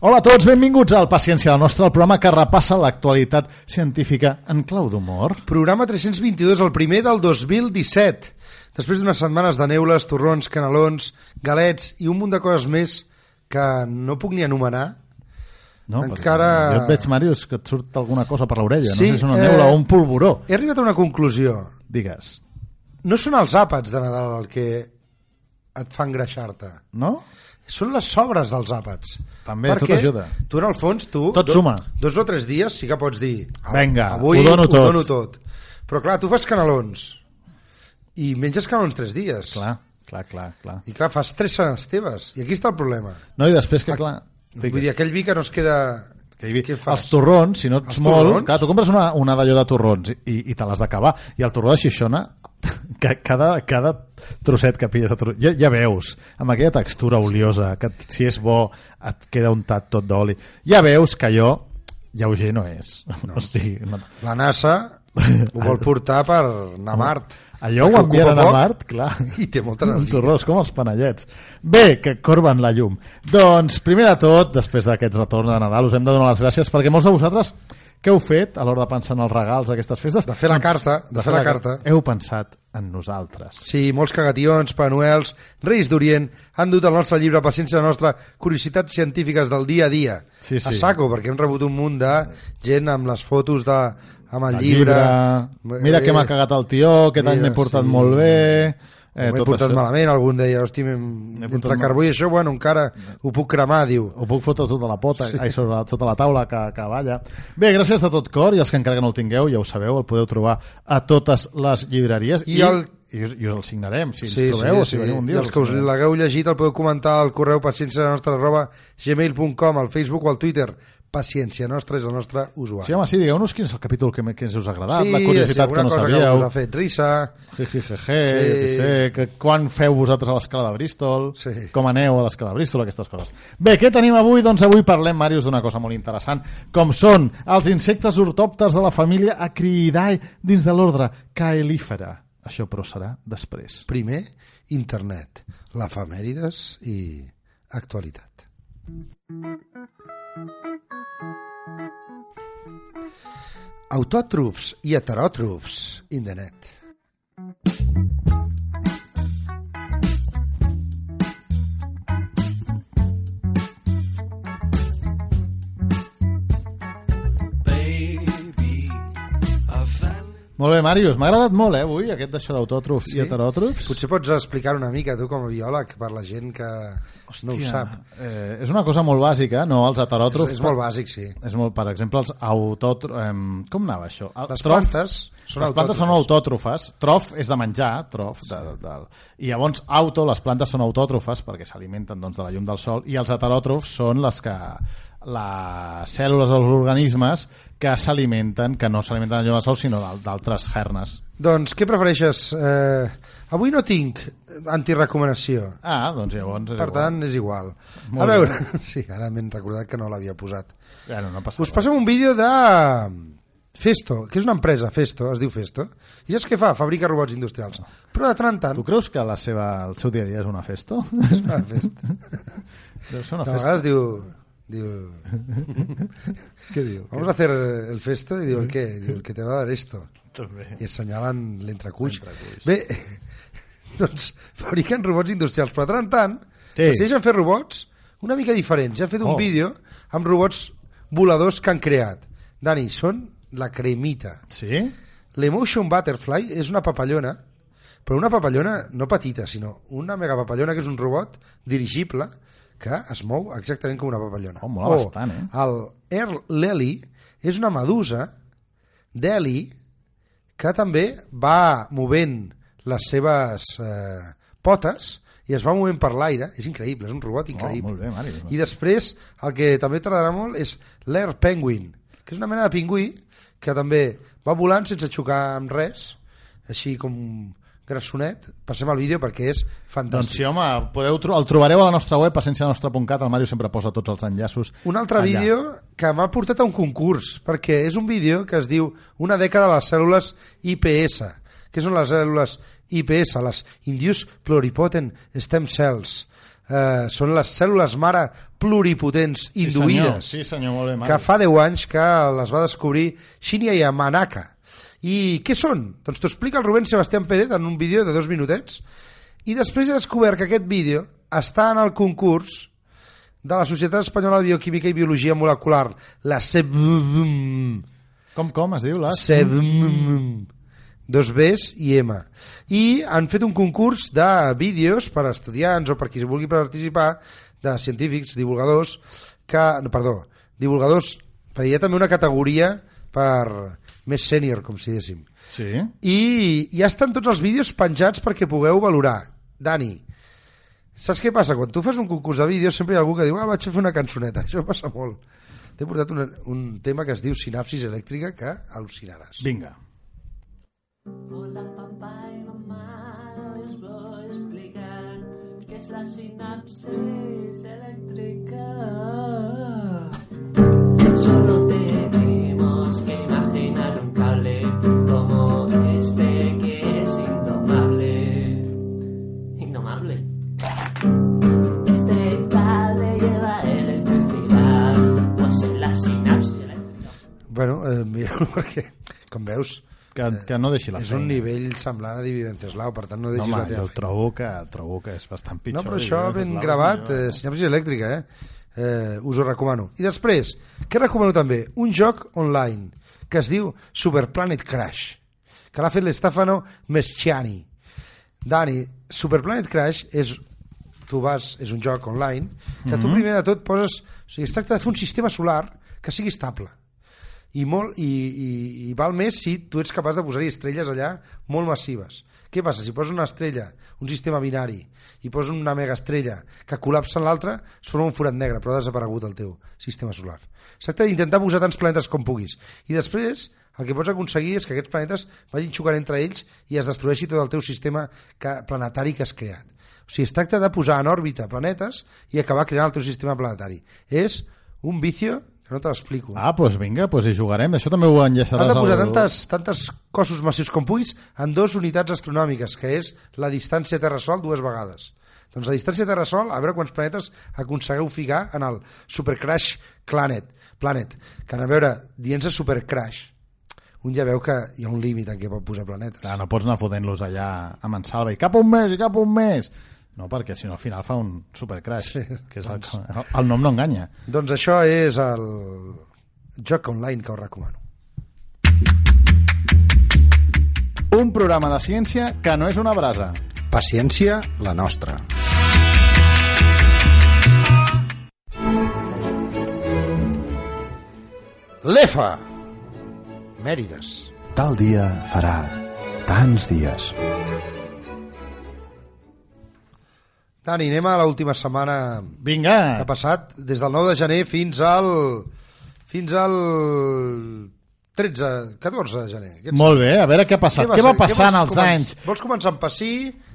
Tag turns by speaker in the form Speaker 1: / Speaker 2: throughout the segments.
Speaker 1: Hola a tots, benvinguts al Paciència, la nostra, el programa que repassa l'actualitat científica en clau d'humor.
Speaker 2: Programa 322, el primer del 2017. Després d'unes setmanes de neules, torrons, canelons, galets i un munt de coses més que no puc ni anomenar.
Speaker 1: No?
Speaker 2: Encara-
Speaker 1: Perquè Jo et veig, Màrius, que et surt alguna cosa per l'orella.
Speaker 2: Sí,
Speaker 1: no sé si és una
Speaker 2: eh,
Speaker 1: neula o un polvoró.
Speaker 2: He arribat a una conclusió.
Speaker 1: Digues.
Speaker 2: No són els àpats de Nadal el que et fan greixar-te.
Speaker 1: No?
Speaker 2: Són les sobres dels àpats.
Speaker 1: També, tot ajuda.
Speaker 2: Tu, en el fons, tu...
Speaker 1: Tot
Speaker 2: do-
Speaker 1: suma.
Speaker 2: Dos o tres dies sí que pots dir... "Ah,
Speaker 1: Vinga,
Speaker 2: avui
Speaker 1: ho dono tot."
Speaker 2: dono tot. Però clar, tu fas canelons. I menges canelons tres dies.
Speaker 1: Clar, clar, clar, clar.
Speaker 2: I clar, fas tres senes teves. I aquí està el problema.
Speaker 1: No, i després que, clar...
Speaker 2: Digues. Vull dir, aquell vi que no es queda...
Speaker 1: que hi havia,
Speaker 2: Què
Speaker 1: els
Speaker 2: fas?
Speaker 1: torrons, si no ets
Speaker 2: Els
Speaker 1: molt...
Speaker 2: torrons?
Speaker 1: Clar, tu compres una, una d'allò de torrons i, i te l'has d'acabar. I el torró de Xixona, que cada, cada trosset que pilles de torró, ja, ja veus, amb aquella textura oliosa, que si és bo et queda untat tot d'oli, ja veus que allò lleuger no és. No. O sigui, no.
Speaker 2: La NASA ho vol portar per anar a Mart.
Speaker 1: Allò ho
Speaker 2: Perquè ocupa
Speaker 1: enviaran a
Speaker 2: poc
Speaker 1: Mart, clar.
Speaker 2: I té molta
Speaker 1: Un
Speaker 2: energia.
Speaker 1: torró, és com els panellets. Bé, que corben la llum. Doncs, primer de tot, després d'aquest retorn de Nadal, us hem de donar les gràcies perquè molts de vosaltres què heu fet a l'hora de pensar en els regals d'aquestes festes? Doncs,
Speaker 2: De fer la carta, de fer la carta.
Speaker 1: Heu pensat en nosaltres.
Speaker 2: Sí, molts cagations, panuels, reis d'Orient han dut el nostre llibre Paciència Nostra, Curiositats Científiques del Dia a Dia.
Speaker 1: Sí, sí.
Speaker 2: A saco, perquè hem rebut un munt de gent amb les fotos de, amb el,
Speaker 1: El llibre... Mira
Speaker 2: Eh,
Speaker 1: que m'ha cagat el tió, aquest
Speaker 2: mira,
Speaker 1: any m'he portat
Speaker 2: sí.
Speaker 1: molt bé...
Speaker 2: Eh, M'ho he portat malament, algun deia, hosti, m'hem-
Speaker 1: portat
Speaker 2: entre
Speaker 1: mal.
Speaker 2: carbó i això, bueno, encara ho puc cremar, diu.
Speaker 1: Ho puc fotre tota la pota, sí. ai, sobre, sota la taula que, que balla. Bé, gràcies de tot cor, i els que encara que no el tingueu, ja ho sabeu, el podeu trobar a totes les llibreries i,
Speaker 2: I el-
Speaker 1: i, us, i us el signarem, si ens trobeu o si veniu un dia.
Speaker 2: I els que us l'hagueu llegit el podeu comentar al correu paciència nostra arroba gmail.com, al Facebook o al Twitter. Paciència nostra és el nostre usuari.
Speaker 1: Sí, home, sí, digueu-nos quin és el capítol que, me- que ens us ha agradat, la
Speaker 2: si
Speaker 1: curiositat
Speaker 2: alguna
Speaker 1: que no
Speaker 2: cosa
Speaker 1: sabíeu.
Speaker 2: que us ha fet risa.
Speaker 1: Sí, sí, sí,
Speaker 2: Sí.
Speaker 1: sé, que quan feu vosaltres a l'escala de Bristol,
Speaker 2: Sí.
Speaker 1: com aneu a l'escala de Bristol, aquestes coses. Bé, què tenim avui? Doncs avui parlem, Màrius, d'una cosa molt interessant, com són els insectes ortòpters de la família Acriidae dins de l'ordre Caelífera. Això, però, serà després.
Speaker 2: Primer, internet, l'efemèrides i actualitat. Autòtrofs i heteròtrofs in the net.
Speaker 1: Molt bé, Màrius, m'ha agradat molt, eh, avui, aquest d'això d'autòtrofs sí? i heteròtrofs.
Speaker 2: Potser pots explicar una mica, tu, com a biòleg, per la gent que no ho sap.
Speaker 1: Eh, és una cosa molt bàsica, no? Els heteròtrofs...
Speaker 2: És, és molt bàsic, sí.
Speaker 1: és molt, per exemple, els autòtrofs... Eh, com anava això?
Speaker 2: Les
Speaker 1: Trof-
Speaker 2: plantes són
Speaker 1: les plantes són
Speaker 2: autòtrofes.
Speaker 1: autòtrofes. Trof és de menjar, trof. De, de, de... I llavors, auto, les plantes són autòtrofes perquè s'alimenten doncs, de la llum del sol i els heteròtrofs són les que les cèl·lules dels organismes que s'alimenten, que no s'alimenten de la llum del sol, sinó d'al- d'altres hernes.
Speaker 2: Doncs què prefereixes? Eh, avui no tinc antirecomanació.
Speaker 1: Ah, doncs llavors... És
Speaker 2: Per tant, és igual.
Speaker 1: Molt
Speaker 2: a veure, sí, ara m'he recordat que no l'havia posat.
Speaker 1: Bueno, no passa
Speaker 2: Us
Speaker 1: res.
Speaker 2: passem un vídeo de mm, Festo, que és una empresa, Festo, es diu Festo, i saps què fa? Fabrica robots industrials. Però de tant en tant...
Speaker 1: Tu creus que la seva, el seu dia a dia és una festa?
Speaker 2: Ah, Festo.
Speaker 1: Deu ser una
Speaker 2: De
Speaker 1: festa.
Speaker 2: vegades diu... diu
Speaker 1: Què diu?
Speaker 2: Vamos a hacer el Festo, i diu el què? Diu el que te va a dar esto.
Speaker 1: També.
Speaker 2: i assenyalen l'entrecuix. Bé, doncs fabriquen robots industrials, però de tant en tant
Speaker 1: Sí.
Speaker 2: sí. decideixen fer robots una mica diferents. Ja he fet un
Speaker 1: Oh.
Speaker 2: vídeo amb robots voladors que han creat. Dani, són la cremita.
Speaker 1: Sí? Oh,
Speaker 2: L'Emotion Butterfly és una papallona, però una papallona no petita, sinó una megapapallona que és un robot dirigible que es mou exactament com una papallona.
Speaker 1: Oh, mola bastant, eh?
Speaker 2: El Earl Lely és una medusa d'heli que també va movent les seves eh, potes i es va movent per l'aire. És increïble, és un robot increïble.
Speaker 1: Oh, molt bé, Mari.
Speaker 2: I després, el que també t'agradarà molt és l'Air Penguin, que és una mena de pingüí que també va volant sense xocar amb res, així com grassonet. Passem al vídeo perquè és
Speaker 1: Doncs
Speaker 2: fantàstic.
Speaker 1: sí, home, podeu, tro- el trobareu a la nostra web, paciència-nostra.cat, el Mario sempre posa tots els enllaços.
Speaker 2: un altre
Speaker 1: allà.
Speaker 2: vídeo que m'ha portat a un concurs, perquè és un vídeo que es diu Una dècada de les cèl·lules IPS. Què són les cèl·lules IPS? Les Induced Pluripotent Stem Cells. eh, són les cèl·lules mare pluripotents induïdes
Speaker 1: Sí, senyor, sí, senyor molt bé, Marc.
Speaker 2: que fa 10 anys que les va descobrir Shinya Yamanaka. I què són? Doncs t'ho explica el Rubén Sebastián Pérez en un vídeo de dos minutets i després he descobert que aquest vídeo està en el concurs de la Societat Espanyola de Bioquímica i Biologia Molecular, la CEBM,
Speaker 1: Com, com es diu, l'as?
Speaker 2: CEBM, dos Bs i M. I han fet un concurs de vídeos per a estudiants o per qui vulgui participar, de científics, divulgadors, que, no, perdó, divulgadors, perquè hi ha també una categoria per més sènior, com si diguéssim.
Speaker 1: Sí.
Speaker 2: I ja estan tots els vídeos penjats perquè pugueu valorar. Dani, saps què passa? Quan tu fas un concurs de vídeos sempre hi ha algú que diu ah, vaig a fer una cançoneta, això passa molt. T'he portat una, un tema que es diu sinapsis elèctrica que al·lucinaràs.
Speaker 1: Vinga.
Speaker 3: Hola papá y mamá, les voy a explicar qué es la sinapsis eléctrica. Solo tenemos que imaginar un cable como este que es indomable. Indomable. Este cable lleva electricidad, pues en la sinapsis eléctrica.
Speaker 2: Bueno, eh, mira, perquè, com veus,
Speaker 1: Que, que no deixi la
Speaker 2: és un nivell semblant a Dividenteslau, per tant no
Speaker 1: No,
Speaker 2: deixis
Speaker 1: home,
Speaker 2: la
Speaker 1: jo
Speaker 2: teva
Speaker 1: trobo que, trobo que és bastant pitjor.
Speaker 2: No, però això
Speaker 1: Dividentes
Speaker 2: ben
Speaker 1: Lau,
Speaker 2: gravat,
Speaker 1: millor.
Speaker 2: eh, sinapsis elèctrica, eh? eh? Us ho recomano. I després, què recomano també? Un joc online que es diu Superplanet Crash, que l'ha fet l'Estefano Mesciani. Dani, Superplanet Crash és tu vas, és un joc online que
Speaker 1: Mhm.
Speaker 2: tu primer de tot poses o sigui, es tracta de fer un sistema solar que sigui estable i, molt, i, i, i val més si tu ets capaç de posar-hi estrelles allà molt massives. Què passa? Si poses una estrella, un sistema binari, i poses una mega estrella que col·lapsa en l'altra, es forma un forat negre, però ha desaparegut el teu sistema solar. Es tracta d'intentar posar tants planetes com puguis. I després, el que pots aconseguir és que aquests planetes vagin xocant entre ells i es destrueixi tot el teu sistema que, planetari que has creat. O sigui, es tracta de posar en òrbita planetes i acabar creant el teu sistema planetari. És un vicio que no te l'explico.
Speaker 1: Ah, doncs vinga, doncs hi jugarem. Això també ho enllaçaràs
Speaker 2: Has de posar
Speaker 1: al-
Speaker 2: tantes, tantes cossos massius com puguis en dues unitats astronòmiques, que és la distància Terra-Sol dues vegades. Doncs la distància Terra-Sol, a veure quants planetes aconsegueu ficar en el Supercrash Planet, planet que a veure, dient-se Supercrash, un ja veu que hi ha un límit en què pot posar planetes.
Speaker 1: Clar, no pots anar fotent-los allà a Mansalva i cap un mes, i cap un mes. No, perquè si no al final fa un supercrash, sí, que és el, el, el nom no enganya.
Speaker 2: Doncs això és el joc online que us recomano.
Speaker 1: Un programa de ciència que no és una brasa.
Speaker 2: Paciència, la nostra. L'EFA! Mèrides.
Speaker 4: Tal dia farà tants dies.
Speaker 2: Dani, anem a l'última setmana
Speaker 1: Vinga,
Speaker 2: que ha passat, des del 9 de gener fins al... fins al 13, 14 de gener. Aquest
Speaker 1: molt bé, a veure què ha passat. Què va
Speaker 2: ser?
Speaker 1: passar en
Speaker 2: vols
Speaker 1: els
Speaker 2: comen-
Speaker 1: anys?
Speaker 2: Vols començar amb Passí,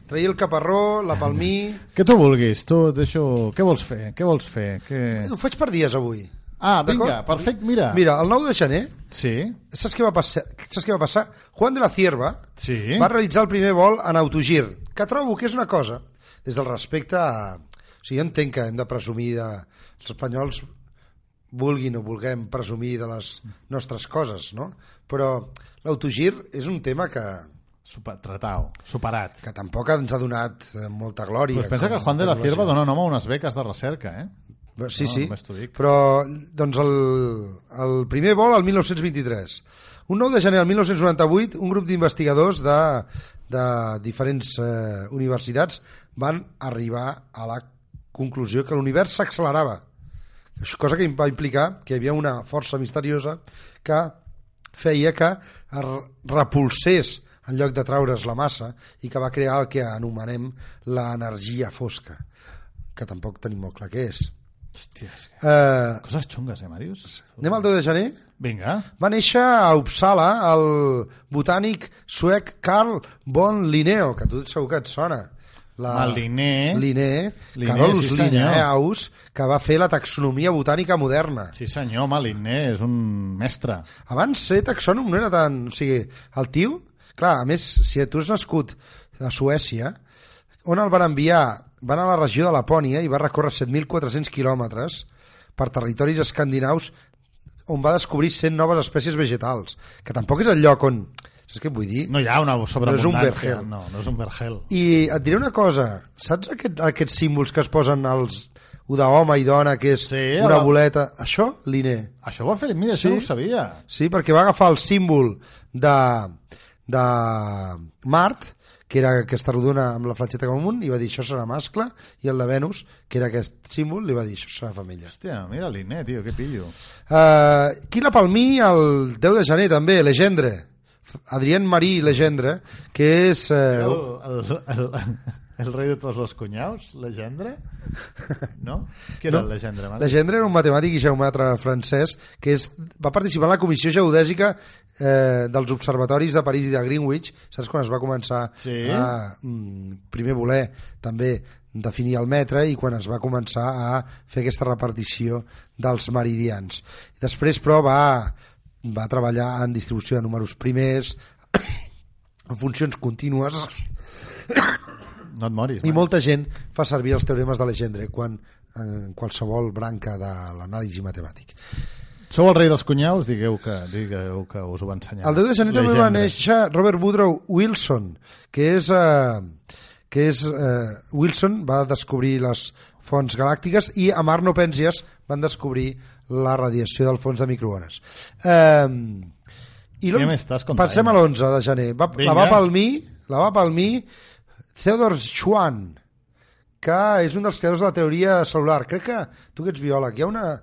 Speaker 2: trair el Caparró, la Palmí...
Speaker 1: Que tu vulguis, tu deixo... Què vols fer? Què vols fer? Què...
Speaker 2: Ho faig per dies, avui.
Speaker 1: Eh. Ah, vinga,
Speaker 2: D'acord?
Speaker 1: perfecte, mira.
Speaker 2: Mira, el 9 de gener
Speaker 1: Sí,
Speaker 2: Saps què va passar? Saps què va passar? Juan de la Cierva
Speaker 1: Sí.
Speaker 2: va realitzar el primer vol en autogir, que trobo que és una cosa, des del respecte a... O sigui, jo entenc que hem de presumir de... Els espanyols vulguin o vulguem presumir de les nostres coses, no? Però l'autogir és un tema que,
Speaker 1: super, tratau, superat.
Speaker 2: que tampoc ens ha donat eh, molta glòria.
Speaker 1: Pues pensa
Speaker 2: com
Speaker 1: que Juan de la
Speaker 2: tecnologia.
Speaker 1: Cierva dona nom a unes beques de recerca, eh?
Speaker 2: Bé, Sí,
Speaker 1: No,
Speaker 2: sí,
Speaker 1: només t'ho dic.
Speaker 2: però doncs el, el primer vol al 1923. Un 9 de gener del 1998, un grup d'investigadors de, de diferents eh, universitats van arribar a la conclusió que l'univers s'accelerava, Això- cosa que va implicar que hi havia una força misteriosa que feia que es repulsés en lloc de traure's la massa i que va crear el que anomenem l'energia fosca, que tampoc tenim molt clar què és.
Speaker 1: Hòstia, és que...
Speaker 2: Eh,
Speaker 1: Coses xungues, eh, Màrius?
Speaker 2: anem al 2 de gener?
Speaker 1: Vinga.
Speaker 2: Va néixer a Uppsala el botànic suec Carl von Linneo, que a tu segur que et sona. La...
Speaker 1: Home, Linné.
Speaker 2: Linné,
Speaker 1: Linné,
Speaker 2: Carolus
Speaker 1: sí, senyor.
Speaker 2: Linnaeus, que va fer la taxonomia botànica moderna.
Speaker 1: Sí senyor, home, l'Inné és un mestre.
Speaker 2: Abans ser taxònom no era tan... O sigui, el tio... Clar, a més, si tu has nascut a Suècia, on el van enviar va anar a la regió de Lapònia i va recórrer 7.400 quilòmetres per territoris escandinaus on va descobrir 100 noves espècies vegetals, que tampoc és el lloc on... Saps què et vull dir?
Speaker 1: No hi ha una sobreabundància.
Speaker 2: vergel.
Speaker 1: No, no és un vergel.
Speaker 2: I et diré una cosa, saps aquest, aquests símbols que es posen als un de home i dona, que és
Speaker 1: Sí,
Speaker 2: una
Speaker 1: la-
Speaker 2: boleta, això, l'INE,
Speaker 1: Això ho va fer, mira,
Speaker 2: Sí.
Speaker 1: això no ho sabia.
Speaker 2: sí, perquè va agafar el símbol de, de Mart, que era aquesta rodona amb la fletxeta com amunt, i va dir això serà mascle, i el de Venus, que era aquest símbol, li va dir això serà femella.
Speaker 1: Hòstia, mira l'Iné, tio, que pillo.
Speaker 2: Uh, Quila Palmí el 10 de gener també, Legendre Adrián Marí Legendre que és
Speaker 1: El,
Speaker 2: uh,
Speaker 1: el, el, el rei de tots els cunyaus, Legendre? No? Qui era
Speaker 2: No.
Speaker 1: no. Legendre? abans?
Speaker 2: Legendre era un matemàtic i geomètre francès que és, va participar en la comissió geodèsica eh, dels observatoris de París i de Greenwich saps quan es va començar
Speaker 1: Sí.
Speaker 2: a mm, primer voler també definir el metre i quan es va començar a fer aquesta repartició dels meridians després però va, va treballar en distribució de números primers en funcions contínues
Speaker 1: No et moris.
Speaker 2: i
Speaker 1: mai.
Speaker 2: molta gent fa servir els teoremes de Legendre quan en qualsevol branca de l'anàlisi matemàtic.
Speaker 1: Sou el rei dels cunyaus? Digueu que, digueu que us ho va ensenyar.
Speaker 2: El 10 de gener també va
Speaker 1: Legendre.
Speaker 2: néixer Robert Woodrow Wilson, que és, eh, que és eh, Wilson va descobrir les fonts galàctiques i Amar Penzias van descobrir la radiació del fons de microones. Eh, i l'on-
Speaker 1: Què m'estàs contant?
Speaker 2: Pensem a l'11 de gener. Va, la
Speaker 1: Vinga.
Speaker 2: va palmir, la va palmir Theodor Schwann, que és un dels creadors de la teoria celular. Crec que, tu que ets biòleg, hi ha, una,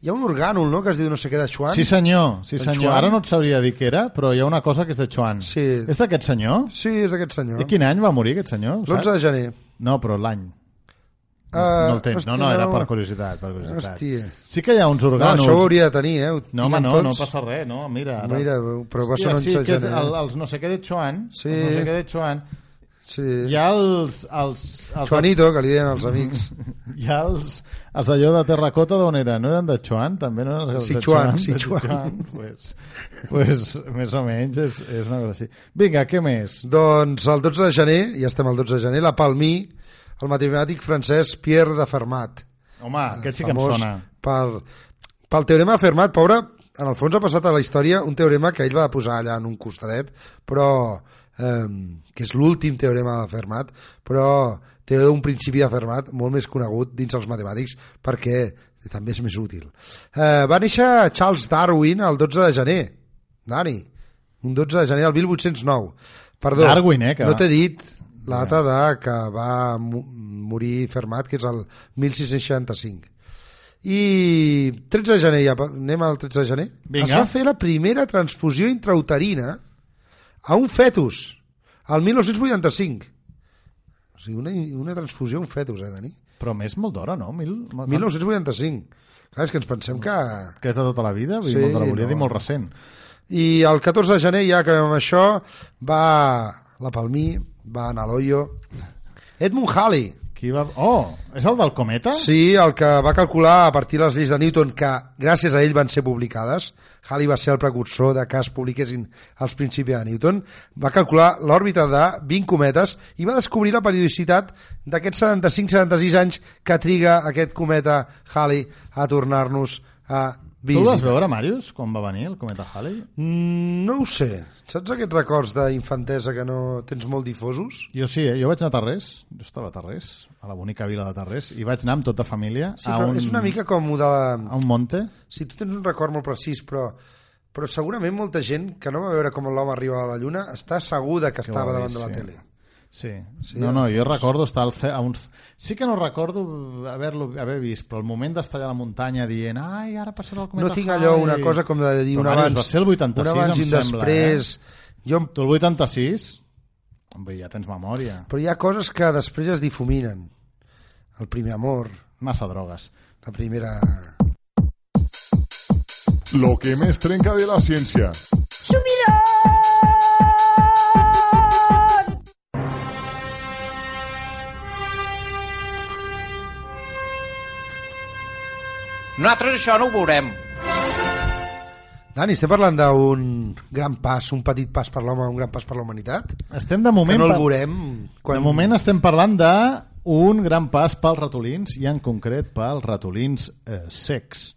Speaker 2: hi ha un orgànol no, que es diu no sé què de Schwann.
Speaker 1: Sí senyor, sí
Speaker 2: En
Speaker 1: senyor.
Speaker 2: Joan?
Speaker 1: Ara no et sabria dir què era, però hi ha una cosa que és de Joan.
Speaker 2: Sí.
Speaker 1: És d'aquest senyor?
Speaker 2: sí és d'aquest senyor.
Speaker 1: I quin any va morir aquest senyor? ho saps?
Speaker 2: L'11 de gener.
Speaker 1: No, però l'any.
Speaker 2: Uh,
Speaker 1: no el tens. No, no, era per curiositat. Per curiositat.
Speaker 2: Hòstia.
Speaker 1: Sí que hi ha uns
Speaker 2: No,
Speaker 1: orgànuls.
Speaker 2: això ho hauria de tenir, eh? Ho
Speaker 1: No, home,
Speaker 2: tinc
Speaker 1: no,
Speaker 2: tots.
Speaker 1: no passa res, no? Mira, ara...
Speaker 2: Mira, però va ser
Speaker 1: Hòstia,
Speaker 2: un
Speaker 1: sí,
Speaker 2: 11 de
Speaker 1: aquest,
Speaker 2: gener. eh?
Speaker 1: el, els no sé què de Joan,
Speaker 2: Sí.
Speaker 1: els no sé què de Joan,
Speaker 2: Sí.
Speaker 1: hi ha els... els, els
Speaker 2: Juanito, que li deien els amics.
Speaker 1: Hi ha els, els d'allò de Terracota d'on eren? No eren de Chuan? També no eren els de
Speaker 2: Sichuan,
Speaker 1: Chuan?
Speaker 2: Sichuan.
Speaker 1: Pues, pues, més o menys és, és una cosa així. Vinga, què més?
Speaker 2: Doncs el 12 de gener, ja estem al 12 de gener, la Palmí, el matemàtic francès Pierre de Fermat.
Speaker 1: Home, aquest sí que em
Speaker 2: famós
Speaker 1: sona.
Speaker 2: Per, pel teorema de Fermat, pobre, en el fons ha passat a la història un teorema que ell va posar allà en un costadet, però eh, que és l'últim teorema de Fermat, però té un principi de Fermat molt més conegut dins els matemàtics perquè també és més útil. Eh, va néixer Charles Darwin el 12 de gener, Dani, un 12 de gener del 1809. Perdó,
Speaker 1: Darwin, eh, que-
Speaker 2: no t'he dit la data de que va mo- morir Fermat, que és el 1665. I 13 de gener, ja, pa- anem al 13 de gener.
Speaker 1: Vinga.
Speaker 2: Es va fer la primera transfusió intrauterina a un fetus, al 1985. O sigui, una, una transfusió a un fetus, eh, Dani?
Speaker 1: Però més molt d'hora, no? Mil,
Speaker 2: 1985. Clar, és que ens pensem que...
Speaker 1: Que és de tota la vida, vull
Speaker 2: Sí,
Speaker 1: dir, molt de la volia
Speaker 2: no.
Speaker 1: dir molt recent.
Speaker 2: I el 14 de gener, ja que amb això, va la Palmí, va anar a l'Oio. Edmund Halley,
Speaker 1: Qui va... Oh, és el del cometa?
Speaker 2: Sí, el que va calcular a partir de les lleis de Newton, que gràcies a ell van ser publicades, Halley va ser el precursor de que es publiquessin els principis de Newton, va calcular l'òrbita de 20 cometes i va descobrir la periodicitat d'aquests 75-76 anys que triga aquest cometa Halley a tornar-nos a
Speaker 1: Tu el vas
Speaker 2: visitar.
Speaker 1: veure, Màrius, quan va venir el cometa Halley?
Speaker 2: Mm, No ho sé. Saps aquests records d'infantesa que no tens molt difosos?
Speaker 1: Jo sí, eh? jo vaig anar a Tarrés, jo estava a Tarrés, a la bonica vila de Tarrés, i vaig anar amb tota família
Speaker 2: Sí,
Speaker 1: a,
Speaker 2: però
Speaker 1: un,
Speaker 2: és una mica com de la...
Speaker 1: a un monte.
Speaker 2: si tu tens un record molt precís, però, però segurament molta gent que no va veure com l'home arriba a la Lluna està segura que, estava
Speaker 1: va
Speaker 2: davant de
Speaker 1: dir,
Speaker 2: la
Speaker 1: sí.
Speaker 2: tele.
Speaker 1: Sí. no, no, jo recordo estar al ce- a un... Sí que no recordo haver-lo haver vist, però el moment d'estar allà a la muntanya dient ai, ara passarà el cometa
Speaker 2: No tinc allò
Speaker 1: Halley".
Speaker 2: una cosa com de dir
Speaker 1: Però,
Speaker 2: un
Speaker 1: Màrius,
Speaker 2: abans,
Speaker 1: va ser el 86,
Speaker 2: un abans i
Speaker 1: em
Speaker 2: un
Speaker 1: sembla, eh?
Speaker 2: després... Jo, em-
Speaker 1: Tu el 86? Bé, ja tens memòria.
Speaker 2: però hi ha coses que després es difuminen. El primer amor,
Speaker 1: Massa drogues.
Speaker 2: la primera...
Speaker 5: Lo que més trenca de la ciència.
Speaker 6: Nosaltres això no ho veurem.
Speaker 2: Dani, estem parlant d'un gran pas, un petit pas per l'home, un gran pas per la humanitat?
Speaker 1: Estem de moment...
Speaker 2: Que no el
Speaker 1: par-
Speaker 2: veurem
Speaker 1: De
Speaker 2: quan...
Speaker 1: moment estem parlant de un gran pas pels ratolins i en concret pels ratolins eh, secs.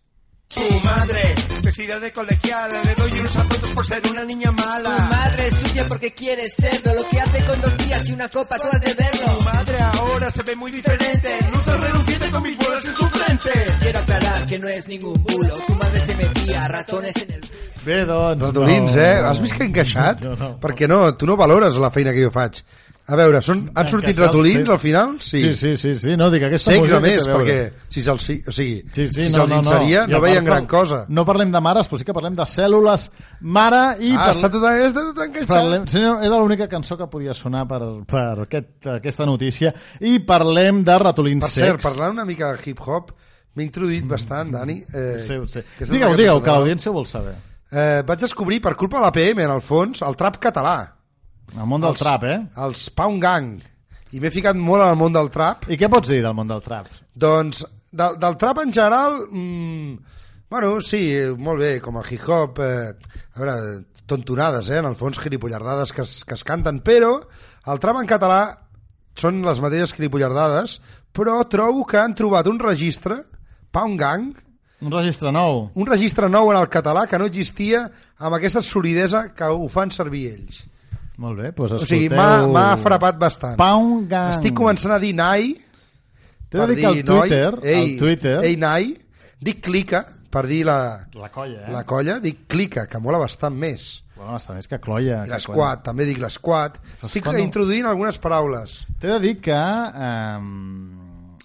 Speaker 7: Su madre, vestida de colegiala, le doy unos zapatos por ser una niña mala.
Speaker 8: Tu madre es sucia porque quiere serlo. Lo que hace con dos días y una copa, tú has de verlo.
Speaker 7: Su madre ahora se ve muy diferente, luce reluciente con mis bolas en su frente.
Speaker 8: Quiero aclarar que no es ningún bulo. Tu madre se metía ratones en el.
Speaker 1: Bé, doncs...
Speaker 2: Ratolins,
Speaker 1: no.
Speaker 2: eh? Has vist que he encaixat?
Speaker 1: No, no.
Speaker 2: Perquè no, tu no valores la feina que jo faig. A veure, són, han sortit
Speaker 1: Encaixats,
Speaker 2: ratolins
Speaker 1: sí.
Speaker 2: al final? Sí.
Speaker 1: Sí, sí, sí, sí. No, dic, aquesta
Speaker 2: Secs,
Speaker 1: música
Speaker 2: a més,
Speaker 1: té veure.
Speaker 2: perquè si se'ls fi- o sigui,
Speaker 1: Sí, sí,
Speaker 2: si
Speaker 1: no,
Speaker 2: se'ls
Speaker 1: no, no.
Speaker 2: inseria no,
Speaker 1: I a
Speaker 2: veien
Speaker 1: part,
Speaker 2: gran cosa.
Speaker 1: No parlem de mares, però sí que parlem de cèl·lules mare i
Speaker 2: ah,
Speaker 1: parlem-
Speaker 2: està tot, està tot encaixat.
Speaker 1: Parlem, sí, no, era l'única cançó que podia sonar per, per aquest, aquesta notícia i parlem de ratolins
Speaker 2: Per cert,
Speaker 1: secs.
Speaker 2: parlant una mica de hip-hop, m'he introduït bastant, Dani. Eh,
Speaker 1: Sí, sí.
Speaker 2: aquesta és una
Speaker 1: Digueu, digueu,
Speaker 2: mica
Speaker 1: que
Speaker 2: personal.
Speaker 1: l'audiència ho vol saber.
Speaker 2: Eh, vaig descobrir, per culpa de l'APM, en el fons, el trap català.
Speaker 1: El món del
Speaker 2: Els-
Speaker 1: trap, eh?
Speaker 2: Els Pound Gang. I m'he ficat molt en el món del trap.
Speaker 1: I què pots dir del món del trap?
Speaker 2: Doncs, del, del trap en general, mmm, bueno, sí, eh, molt bé, com el hip-hop, eh, a veure, tontonades, eh, en el fons, gilipollardades que es, que es canten, però el trap en català són les mateixes gilipollardades, però trobo que han trobat un registre, Pound Gang,
Speaker 1: Un registre nou.
Speaker 2: un registre nou en el català que no existia amb aquesta solidesa que ho fan servir ells.
Speaker 1: Molt bé, doncs
Speaker 2: O
Speaker 1: escolteu...
Speaker 2: sigui, m'ha m'ha frapat bastant.
Speaker 1: Pound Gang.
Speaker 2: Estic començant a dir nai,
Speaker 1: T'he de dir que el Twitter,
Speaker 2: ei,
Speaker 1: el Twitter,
Speaker 2: Ei, nai, dic clica, per dir la,
Speaker 1: la colla, eh?
Speaker 2: la colla, dic clica, que mola bastant més.
Speaker 1: Bueno, està més que cloia.
Speaker 2: I
Speaker 1: que
Speaker 2: l'esquat, també dic l'esquat. Estic
Speaker 1: quan no-
Speaker 2: introduint algunes paraules.
Speaker 1: T'he de dir que eh,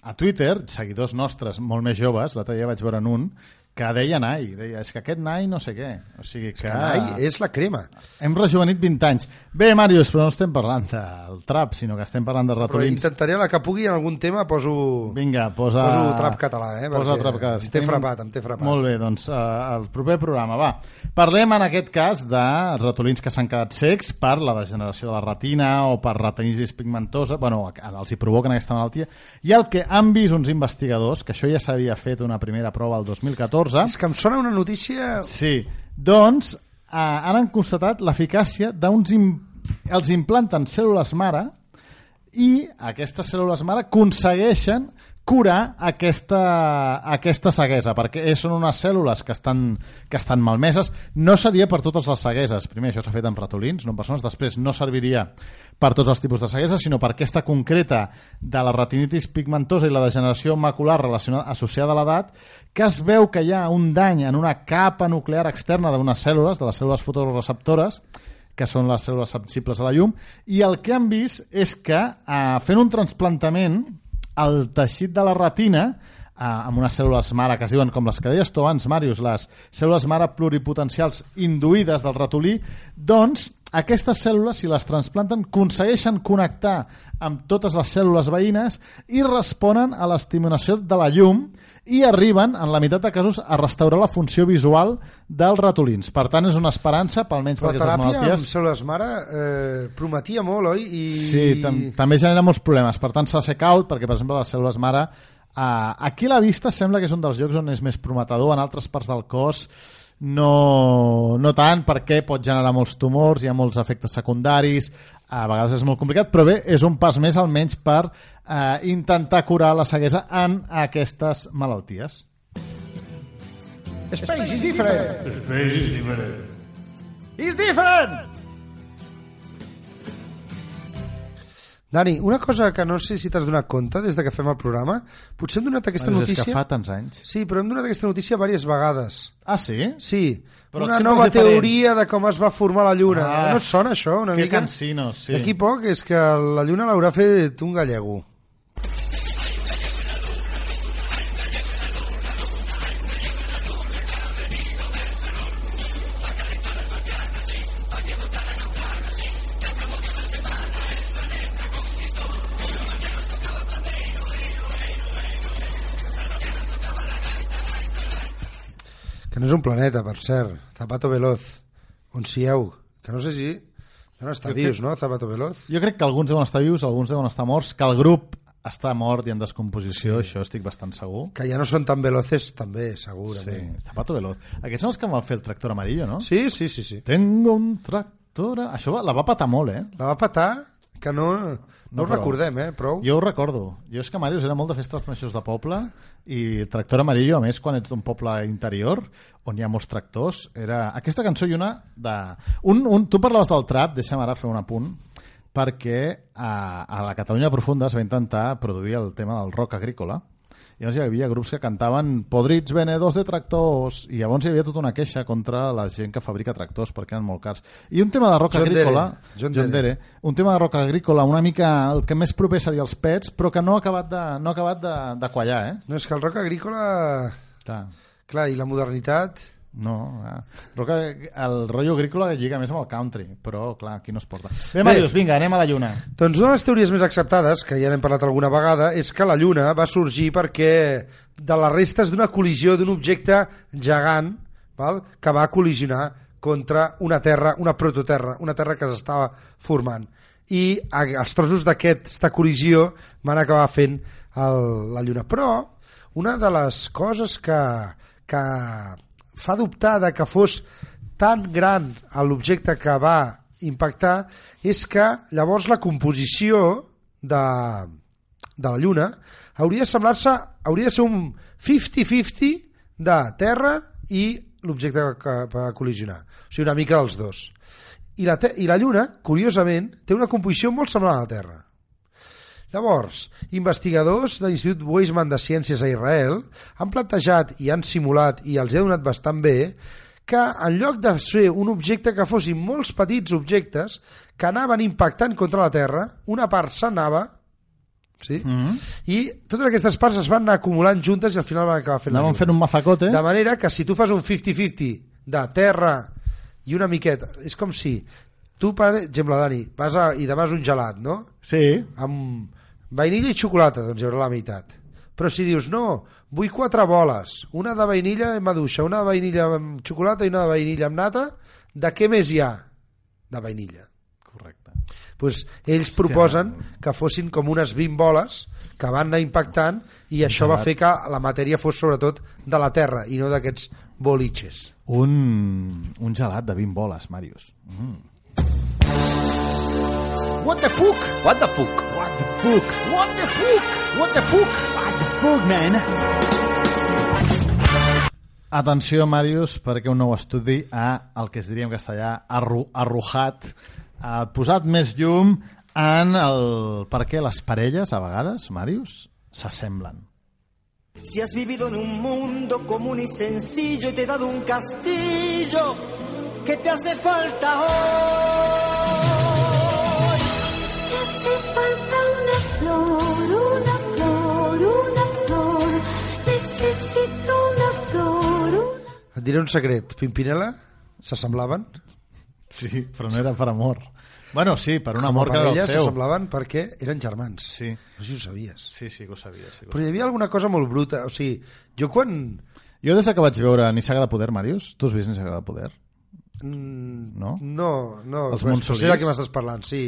Speaker 1: a Twitter, seguidors nostres molt més joves, l'altre dia vaig veure en un, que deia Nai, deia, és que aquest Nai no sé què. O sigui que,
Speaker 2: Nai és la crema.
Speaker 1: hem rejuvenit 20 anys. Bé, Màrius, però no estem parlant del trap, sinó que estem parlant de
Speaker 2: Però
Speaker 1: ratolins.
Speaker 2: intentaré la que pugui en algun tema poso...
Speaker 1: Vinga, posa...
Speaker 2: Poso trap català, eh,
Speaker 1: Posa
Speaker 2: perquè
Speaker 1: trap català.
Speaker 2: em
Speaker 1: Si
Speaker 2: té
Speaker 1: tenim-
Speaker 2: frapat, em té frapat.
Speaker 1: Molt bé, doncs eh, el proper programa, va. Parlem en aquest cas de ratolins que s'han quedat secs per la degeneració de la retina o per retinitis pigmentosa, bueno, els hi provoquen aquesta malaltia, i el que han vist uns investigadors, que això ja s'havia fet una primera prova el 2014...
Speaker 2: És que em sona una notícia...
Speaker 1: Sí, doncs eh, ara han constatat l'eficàcia d'uns... Im... Els implanten cèl·lules mare i aquestes cèl·lules mare aconsegueixen curar aquesta, aquesta ceguesa, perquè eh, són unes cèl·lules que estan, que estan malmeses. No seria per totes les cegueses. Primer, això s'ha fet amb ratolins, no amb persones. Després, no serviria per tots els tipus de ceguesa, sinó per aquesta concreta de la retinitis pigmentosa i la degeneració macular relacionada, associada a l'edat, que es veu que hi ha un dany en una capa nuclear externa d'unes cèl·lules, de les cèl·lules fotoreceptores, que són les cèl·lules sensibles a la llum, i el que han vist és que eh, fent un transplantament el teixit de la retina eh, amb unes cèl·lules mare que es diuen com les que deies tu abans, Màrius, les cèl·lules mare pluripotencials induïdes del ratolí, doncs aquestes cèl·lules, si les transplanten, aconsegueixen connectar amb totes les cèl·lules veïnes i responen a l'estimulació de la llum i arriben, en la meitat de casos, a restaurar la funció visual dels ratolins. Per tant, és una esperança, pel menys per
Speaker 2: La
Speaker 1: aquestes
Speaker 2: teràpia
Speaker 1: malalties.
Speaker 2: amb cèl·lules mare eh, prometia molt, oi? I...
Speaker 1: Sí, tam també genera molts problemes. Per tant, s'ha de ser caut, perquè, per exemple, les cèl·lules mare... Uh, aquí a la vista sembla que és un dels llocs on és més prometedor, en altres parts del cos no, no tant, perquè pot generar molts tumors, hi ha molts efectes secundaris, a vegades és molt complicat, però bé, és un pas més almenys per uh, intentar curar la ceguesa en aquestes malalties.
Speaker 2: Dani, una cosa que no sé si t'has donat compte des de que fem el programa, potser hem donat aquesta
Speaker 1: Bueno, És que
Speaker 2: notícia...
Speaker 1: fa tants anys.
Speaker 2: Sí, però hem donat aquesta notícia diverses vegades.
Speaker 1: Ah, sí?
Speaker 2: Sí,
Speaker 1: Però
Speaker 2: però una
Speaker 1: sempre
Speaker 2: nova
Speaker 1: és diferent.
Speaker 2: teoria de com es va formar la Lluna.
Speaker 1: Ah,
Speaker 2: Ah, no et sona això, una
Speaker 1: que
Speaker 2: mica?
Speaker 1: cansinos, sí.
Speaker 2: D'aquí poc és que la Lluna l'haurà fet un gallego. Que no és un planeta, per cert. Zapato Veloz. On sieu? Que no sé si... No està vius, no, Zapato Veloz?
Speaker 1: Jo crec que alguns deuen estar vius, alguns deuen estar morts, que el grup està mort i en descomposició, això estic bastant segur.
Speaker 2: Que ja no són tan veloces, també, segurament.
Speaker 1: Sí, Zapato Veloz. Aquests són els que em van fer el tractor amarillo, no?
Speaker 2: Sí, sí, sí, sí.
Speaker 1: Tengo un tractor... a- Això va, la va patar molt, eh?
Speaker 2: La va patar, que no... No, no us
Speaker 1: prou.
Speaker 2: recordem, eh, prou.
Speaker 1: Jo ho recordo. Jo és que Màrius era molt de festes majors de poble i Tractor Amarillo, a més, quan ets d'un poble interior, on hi ha molts tractors, era aquesta cançó i una de... Un, un... Tu parlaves del trap, deixa'm ara fer un apunt, perquè a, a la Catalunya Profunda es va intentar produir el tema del rock agrícola, i llavors hi havia grups que cantaven podrits venedors de tractors i llavors hi havia tota una queixa contra la gent que fabrica tractors perquè eren molt cars i un tema de rock
Speaker 2: John
Speaker 1: agrícola
Speaker 2: Dere. John
Speaker 1: John Dere,
Speaker 2: Dere.
Speaker 1: eh? un tema de rock agrícola una mica el que més proper seria els pets però que no ha acabat de, no ha acabat de, de quallar eh?
Speaker 2: No, és que el rock agrícola...
Speaker 1: Clar.
Speaker 2: Clar, i la modernitat...
Speaker 1: No, clar. rock, ag- el rotllo agrícola lliga més amb el country però clar, aquí no es porta
Speaker 2: Bé.
Speaker 1: Bé, Màrius, vinga, anem a la lluna
Speaker 2: Doncs una de les teories més acceptades, que ja n'hem parlat alguna vegada, és que la Lluna va sorgir perquè de les restes d'una col·lisió d'un objecte gegant val? que va col·lisionar contra una terra, una prototerra, una terra que s'estava formant. I a- els trossos d'aquesta col·lisió van acabar fent el, la Lluna. Però una de les coses que, que fa dubtar de que fos tan gran a l'objecte que va impactar és que llavors la composició de, de la Lluna hauria de semblar-se hauria de ser un 50-50 de Terra i l'objecte que va col·lisionar. O sigui, una mica dels dos. I la, te- I la Lluna, curiosament, té una composició molt semblant a la Terra. Llavors, investigadors de l'Institut Weizmann de Ciències a Israel han plantejat i han simulat, i els he donat bastant bé, que en lloc de ser un objecte que fossin molts petits objectes que anaven impactant contra la Terra, una part s'anava, sí? mm -hmm. i totes aquestes parts es van anar acumulant juntes i al final van acabar fent la
Speaker 1: anàvem
Speaker 2: Lluna.
Speaker 1: fent un mazacote
Speaker 2: De manera que si tu fas un 50-50 de terra i una miqueta, és com si tu, per exemple, Dani, vas a, i demanes un gelat, no?
Speaker 1: sí,
Speaker 2: Amb vainilla i xocolata, doncs hi haurà la meitat. Però si dius, no, vull quatre boles, una de vainilla amb maduixa, una de vainilla amb xocolata i una de vainilla amb nata, de què més hi ha? De vainilla.
Speaker 1: correcte
Speaker 2: Pues, ells proposen que fossin com unes 20 boles que van anar impactant i això va fer que la matèria fos sobretot de la Terra i no d'aquests bolitxes.
Speaker 1: un, un gelat de 20 boles, Màrius Mm.
Speaker 2: What the fuck?
Speaker 6: What the fuck?
Speaker 2: What the fuck? What the fuck? What the fuck?
Speaker 1: Atenció, Màrius, perquè un nou estudi ha, el que es diria en castellà, arru arrujat, ha posat més llum en el... per què les parelles, a vegades, Màrius, s'assemblen.
Speaker 8: Si has vivido en un mundo común y sencillo y te he dado un castillo, ¿qué te hace falta hoy?
Speaker 9: Me hace falta una flor, una flor, una flor. Necesito una flor. una-
Speaker 2: Et diré un secret. Pimpinela? S'assemblaven?
Speaker 1: Sí, però no era per amor. Bueno, sí, per un amor que
Speaker 2: Per
Speaker 1: era
Speaker 2: ella
Speaker 1: el seu.
Speaker 2: s'assemblaven perquè eren germans.
Speaker 1: Sí.
Speaker 2: No sé si ho sabies.
Speaker 1: Sí, sí, que ho sabia. Sí, que ho
Speaker 2: Però hi havia alguna cosa molt bruta. O sigui, jo quan...
Speaker 1: sabia. Jo des que vaig veure Nissaga de Poder, Màrius, tu has vist Nissaga de Poder? No?
Speaker 2: No, no.
Speaker 1: Els
Speaker 2: però
Speaker 1: Montsolís?
Speaker 2: Sé de què m'estàs parlant, sí.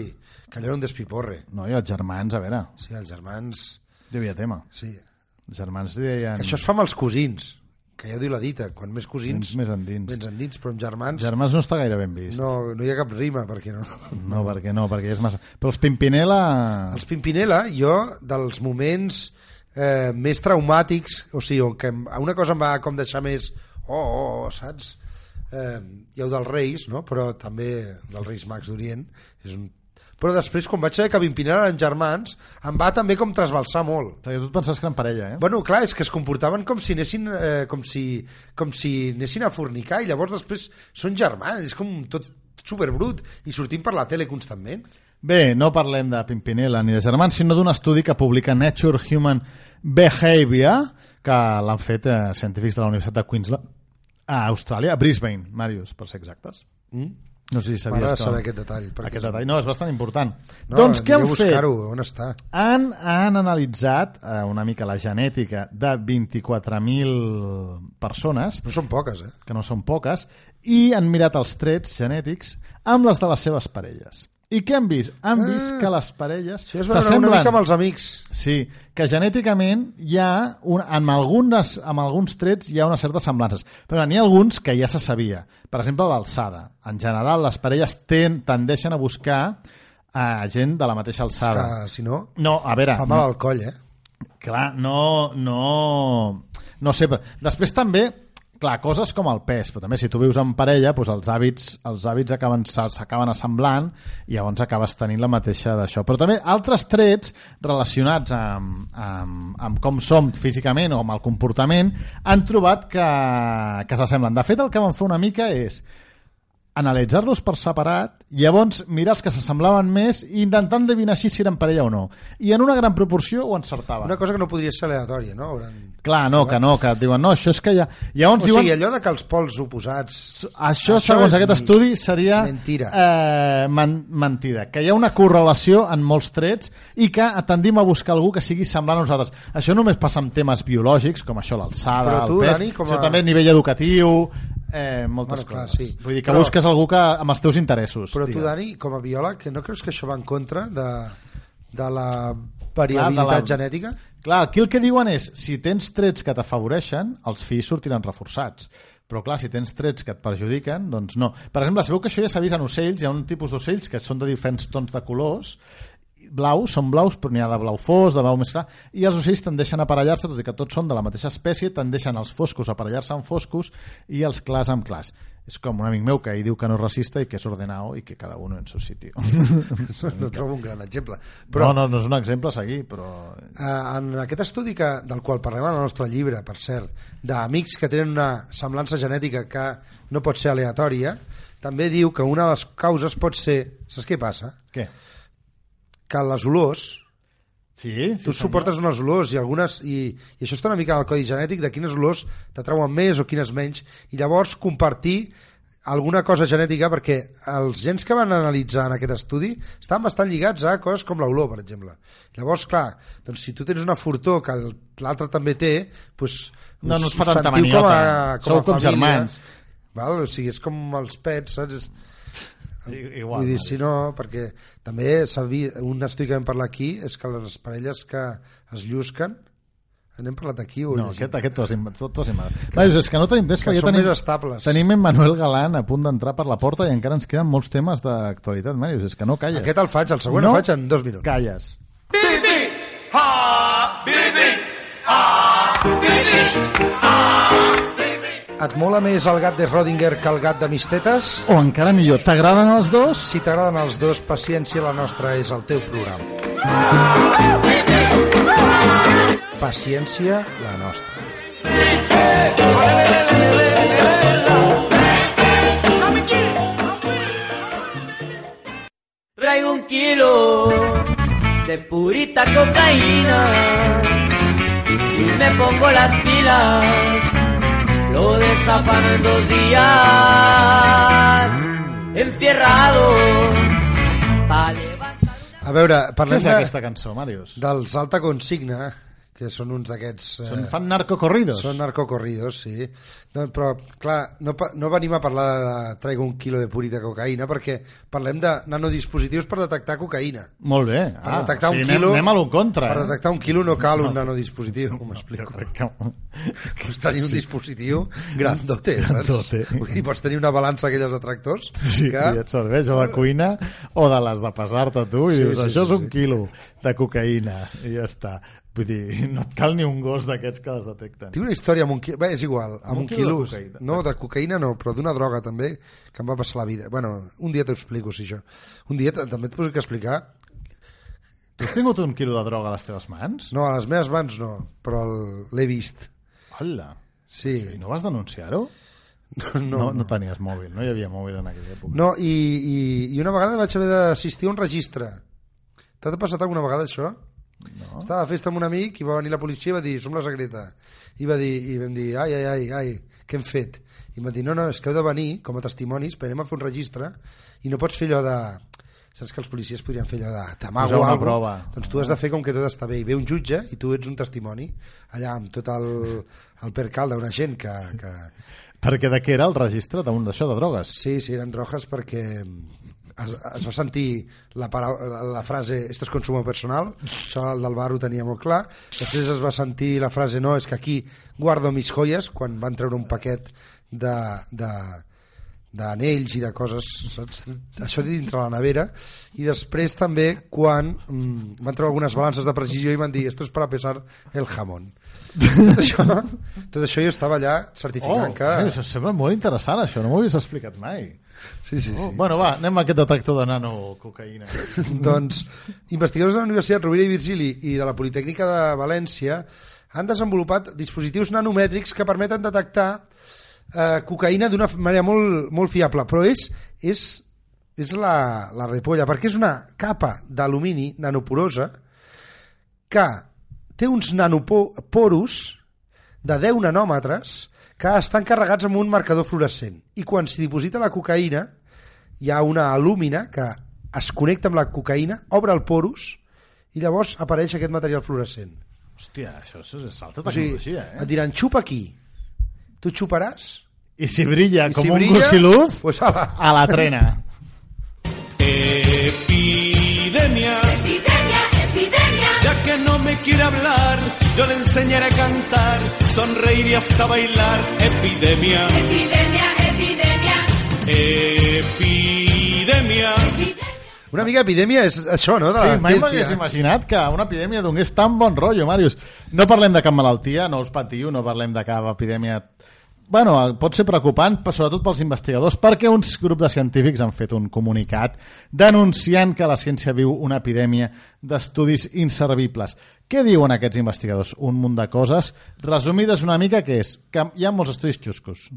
Speaker 2: Que allò era un despiporre.
Speaker 1: No, i els germans, a veure,
Speaker 2: Sí, els germans...
Speaker 1: hi havia tema.
Speaker 2: Sí.
Speaker 1: Els germans deien...
Speaker 2: Que això es fa amb els cosins, que ja ho diu la dita, quan més cosins,
Speaker 1: Vens més endins.
Speaker 2: vens endins, però amb germans
Speaker 1: Germans no està gaire ben vist.
Speaker 2: no, no hi ha cap rima, perquè no.
Speaker 1: No, perquè no, perquè és massa... Però els Pimpinela...
Speaker 2: Els Pimpinela, jo, dels moments eh, més traumàtics, o sigui, on que em- una cosa em va com deixar més, oh, oh, oh saps? Eh, hi ha el dels Reis, no? però també dels Reis Mags d'Orient, és un... Però després, quan vaig saber que Pimpinela eren germans, em va també com trasbalsar molt.
Speaker 1: Perquè tu et pensaves que eren parella, eh?
Speaker 2: Bueno, clar, és que es comportaven com si anessin, eh, com si, com si anessin a fornicar i llavors després són germans, és com tot superbrut i sortim per la tele constantment.
Speaker 1: Bé, no parlem de Pimpinela ni de germans, sinó d'un estudi que publica Nature Human Behavior, que l'han fet eh, científics de la Universitat de Queensland a Austràlia, a Brisbane, Màrius, per ser exactes. Mm? No sé si sabies
Speaker 2: M'agrada
Speaker 1: que...
Speaker 2: saber aquest detall, perquè-
Speaker 1: Aquest detall, no, és bastant important. doncs què
Speaker 2: aniré
Speaker 1: han
Speaker 2: a
Speaker 1: fet?
Speaker 2: buscar-ho, on està?
Speaker 1: han, han analitzat eh, una mica la genètica de 24.000 persones
Speaker 2: No són poques, eh?
Speaker 1: que no són poques, i han mirat els trets genètics amb les de les seves parelles. I què han vist? Han vist que les parelles
Speaker 2: Si es veure Ah. una mica amb els amics.
Speaker 1: Sí, que genèticament hi ha, un, en, algunes, en alguns trets hi ha unes certes semblances, però n'hi ha alguns que ja se sabia. Per exemple, l'alçada. En general, les parelles ten, tendeixen a buscar a gent de la mateixa alçada.
Speaker 2: Que, si no,
Speaker 1: No, a veure...
Speaker 2: fa
Speaker 1: Ah, no-
Speaker 2: mal al coll, eh?
Speaker 1: clar, no, no, no sé, però després també clar, coses com el pes, però també si tu vius en parella, doncs els hàbits, els hàbits acaben s'acaben assemblant i llavors acabes tenint la mateixa d'això. Però també altres trets relacionats amb, amb, amb com som físicament o amb el comportament han trobat que, que s'assemblen. De fet, el que van fer una mica és analitzar-los per separat, llavors mirar els que s'assemblaven més i intentar endevinar així si eren parella o no. I en una gran proporció ho encertaven.
Speaker 2: Una cosa que no podria ser aleatòria, no? Hauran...
Speaker 1: Clar, no, que no, que et diuen, no, això és que ja... Llavors
Speaker 2: O
Speaker 1: diuen,
Speaker 2: sigui, allò de que els pols oposats...
Speaker 1: això,
Speaker 2: Això
Speaker 1: segons
Speaker 2: és
Speaker 1: aquest
Speaker 2: mi-
Speaker 1: estudi, seria
Speaker 2: mentira.
Speaker 1: Eh, men mentida. Que hi ha una correlació en molts trets i que tendim a buscar algú que sigui semblant a nosaltres. Això només passa amb temes biològics, com això, l'alçada,
Speaker 2: Però tu,
Speaker 1: el pes,
Speaker 2: Dani, com a-
Speaker 1: sinó també a nivell educatiu, eh, moltes
Speaker 2: Bueno, clar,
Speaker 1: coses.
Speaker 2: sí.
Speaker 1: Vull dir que
Speaker 2: Però-
Speaker 1: busques algú que, amb els teus interessos.
Speaker 2: Però tu,
Speaker 1: diguem.
Speaker 2: Dani, com a biòleg, que no creus que això va en contra de, de la variabilitat
Speaker 1: Clar, de la-
Speaker 2: genètica?
Speaker 1: Clar, aquí el que diuen és, si tens trets que t'afavoreixen, els fills sortiran reforçats. Però clar, si tens trets que et perjudiquen, doncs no. Per exemple, sabeu que això ja s'ha vist en ocells, hi ha un tipus d'ocells que són de diferents tons de colors, blaus, són blaus, però n'hi ha de blau fosc, de blau més clar, i els ocells tendeixen a aparellar-se, tot i que tots són de la mateixa espècie, tendeixen els foscos a aparellar-se amb foscos i els clars amb clars. És com un amic meu que ell diu que no és racista i que és ordenado i que cada uno en su sitio.
Speaker 2: No trobo un gran exemple. Però
Speaker 1: Però... No, no, no és un exemple a seguir, però
Speaker 2: eh, en aquest estudi que, del qual parlem en el nostre llibre, per cert, d'amics que tenen una semblança genètica que no pot ser aleatòria, també diu que una de les causes pot ser... Saps què passa?
Speaker 1: què?
Speaker 2: Que les olors...
Speaker 1: Sí, sí
Speaker 2: Tu
Speaker 1: senyor.
Speaker 2: suportes unes olors i algunes i, i això està una mica en el codi genètic de quines olors t'atrauen més o quines menys i llavors compartir alguna cosa genètica perquè els gens que van analitzar en aquest estudi estan bastant lligats a coses com l'olor, per exemple. Llavors, clar, doncs si tu tens una fortor que el- l'altre també té, doncs
Speaker 1: No, no
Speaker 2: us-
Speaker 1: us fa
Speaker 2: us
Speaker 1: tanta
Speaker 2: sentiu com a,
Speaker 1: maniota.
Speaker 2: com a
Speaker 1: Sou com
Speaker 2: família.
Speaker 1: germans.
Speaker 2: Val? O sigui, és com els pets, saps? És,
Speaker 1: Sí,
Speaker 2: Vull dir, si no, perquè també s'ha vist, un estudi que vam parlar aquí és que les parelles que es llusquen, eh, n'hem parlat aquí o
Speaker 1: No,
Speaker 2: llegit?
Speaker 1: aquest, aquest t'ho has inventat. Tot, inventat. Vaja, és que no tenim temps,
Speaker 2: que
Speaker 1: perquè ja
Speaker 2: són
Speaker 1: tenim,
Speaker 2: més estables.
Speaker 1: tenim en Manuel Galán a punt d'entrar per la porta i encara ens queden molts temes d'actualitat, Màrius. És que no calles.
Speaker 2: aquest el faig, el següent
Speaker 1: No.
Speaker 2: el faig en dos minuts.
Speaker 1: Calles.
Speaker 2: Et mola més el gat de Rodinger que el gat de Mistetes?
Speaker 1: O encara millor, t'agraden els dos?
Speaker 2: Si t'agraden els dos, Paciència la nostra és el teu programa. Paciència la nostra.
Speaker 8: Traigo un kilo de purita cocaína y me pongo las pilas. Lo destapan en dos días, enfierrado. Pa levantar
Speaker 2: A veure,
Speaker 1: Què
Speaker 2: parlem
Speaker 1: és
Speaker 2: de,
Speaker 1: aquesta cançó, Màrius?
Speaker 2: dels Alta Consigna, que són uns d'aquests... eh,
Speaker 1: Són, fan narcocorridos?
Speaker 2: Són narcocorridos, sí. No, però, clar, no, pa- no venim a parlar de traigo un quilo de purita cocaïna perquè parlem de nanodispositius per detectar cocaïna.
Speaker 1: Molt bé.
Speaker 2: Per
Speaker 1: Ah,
Speaker 2: detectar
Speaker 1: o sigui,
Speaker 2: un
Speaker 1: anem-
Speaker 2: quilo,
Speaker 1: Anem, a lo contra.
Speaker 2: Per
Speaker 1: eh?
Speaker 2: detectar un quilo no cal un nanodispositiu,
Speaker 1: Jo
Speaker 2: m'explico.
Speaker 1: crec que-
Speaker 2: Pots tenir un dispositiu grandote.
Speaker 1: Grandote.
Speaker 2: saps? Vull dir, pots tenir una balança aquelles de tractors
Speaker 1: Sí,
Speaker 2: que...
Speaker 1: i et serveix o de cuina o de les de pesar-te tu i
Speaker 2: Sí,
Speaker 1: sí, dius,
Speaker 2: sí,
Speaker 1: això
Speaker 2: sí,
Speaker 1: és un
Speaker 2: sí.
Speaker 1: quilo de cocaïna i ja està. Vull dir, no et cal ni un gos d'aquests que les detecten.
Speaker 2: Tinc una història amb un quilo... Bé, és igual, amb, un, quilo.
Speaker 1: de cocaïna.
Speaker 2: no, de cocaïna no, però d'una droga també que em va passar la vida. Bueno, un dia t'ho explico, si això. Un dia t- també et podré explicar.
Speaker 1: Tu has tingut un quilo de droga a les teves mans?
Speaker 2: No, a les meves mans no, però el- l'he vist.
Speaker 1: Hola.
Speaker 2: Sí.
Speaker 1: I no vas denunciar-ho?
Speaker 2: No,
Speaker 1: No,
Speaker 2: no.
Speaker 1: no, no tenies mòbil, no hi havia mòbil en aquella època.
Speaker 2: no i, i, I una vegada vaig haver d'assistir a un registre. T'ha passat alguna vegada això? No. Estava a festa amb un amic i va venir la policia i va dir, som la secreta. I, va dir, i vam dir, ai, ai, ai, ai, què hem fet? I em van dir, no, no, és que heu de venir com a testimonis, perquè anem a fer un registre i no pots fer allò de... Saps que els policies podrien fer allò de t'amago
Speaker 1: Posar una
Speaker 2: alguna cosa?
Speaker 1: prova.
Speaker 2: Doncs tu has de fer com que tot està bé. I ve un jutge i tu ets un testimoni allà amb tot el, el percal d'una gent que, que,
Speaker 1: Perquè de què era el registre d'un d'això de drogues?
Speaker 2: Sí, sí, eren drogues perquè mm, es, es va sentir la, parau- la frase esto es consumo personal, això el del bar ho tenia molt clar, després es va sentir la frase no, és que aquí guardo mis joies quan van treure un paquet de, de, d'anells i de coses, saps? Això dintre la nevera. I després també quan mm, van treure algunes balances de precisió i van dir esto es para pesar el jamón. tot, això, tot això jo estava allà
Speaker 1: Oh,
Speaker 2: certificant que...
Speaker 1: que... això sembla molt interessant, això. No m'ho havies explicat mai.
Speaker 2: Sí, sí, sí.
Speaker 1: Oh, bueno, va, anem a aquest detector de nanococaïna.
Speaker 2: doncs, investigadors de la Universitat Rovira i Virgili i de la Politècnica de València han desenvolupat dispositius nanomètrics que permeten detectar eh, cocaïna d'una manera molt, molt fiable, però és, és, és la, la repolla, perquè és una capa d'alumini nanoporosa que té uns nanoporos de 10 nanòmetres que estan carregats amb un marcador fluorescent i quan s'hi diposita la cocaïna hi ha una alúmina que es connecta amb la cocaïna, obre el porus i llavors apareix aquest material fluorescent.
Speaker 1: Hòstia, això és és alta
Speaker 2: O sigui,
Speaker 1: tecnologia,
Speaker 2: et
Speaker 1: eh?
Speaker 2: diran, xupa aquí, tu xuparàs,
Speaker 1: I si brilla
Speaker 2: i
Speaker 1: com
Speaker 2: si
Speaker 1: un
Speaker 2: brilla,
Speaker 1: gossiluz,
Speaker 2: pues, ala,
Speaker 1: a la trena.
Speaker 7: Epidemia,
Speaker 9: Epidemia, epidemia.
Speaker 7: ya que no me quiere hablar, yo le enseñaré a cantar, sonreír y hasta bailar. Epidemia,
Speaker 9: Epidemia, epidemia.
Speaker 7: epidemia.
Speaker 2: una mica epidèmia és això, no? De
Speaker 1: Sí,
Speaker 2: la
Speaker 1: mai m'hagués
Speaker 2: ciència.
Speaker 1: imaginat que una epidèmia donés tan bon rotllo, Màrius. No parlem de cap malaltia, no us patiu, no parlem de cap epidèmia... Bueno, eh, pot ser preocupant, però sobretot pels investigadors, perquè uns grups de científics han fet un comunicat denunciant que la ciència viu una epidèmia d'estudis inservibles. Què diuen aquests investigadors? Un munt de coses. Resumides una mica, que és? Que hi ha molts estudis xuscos,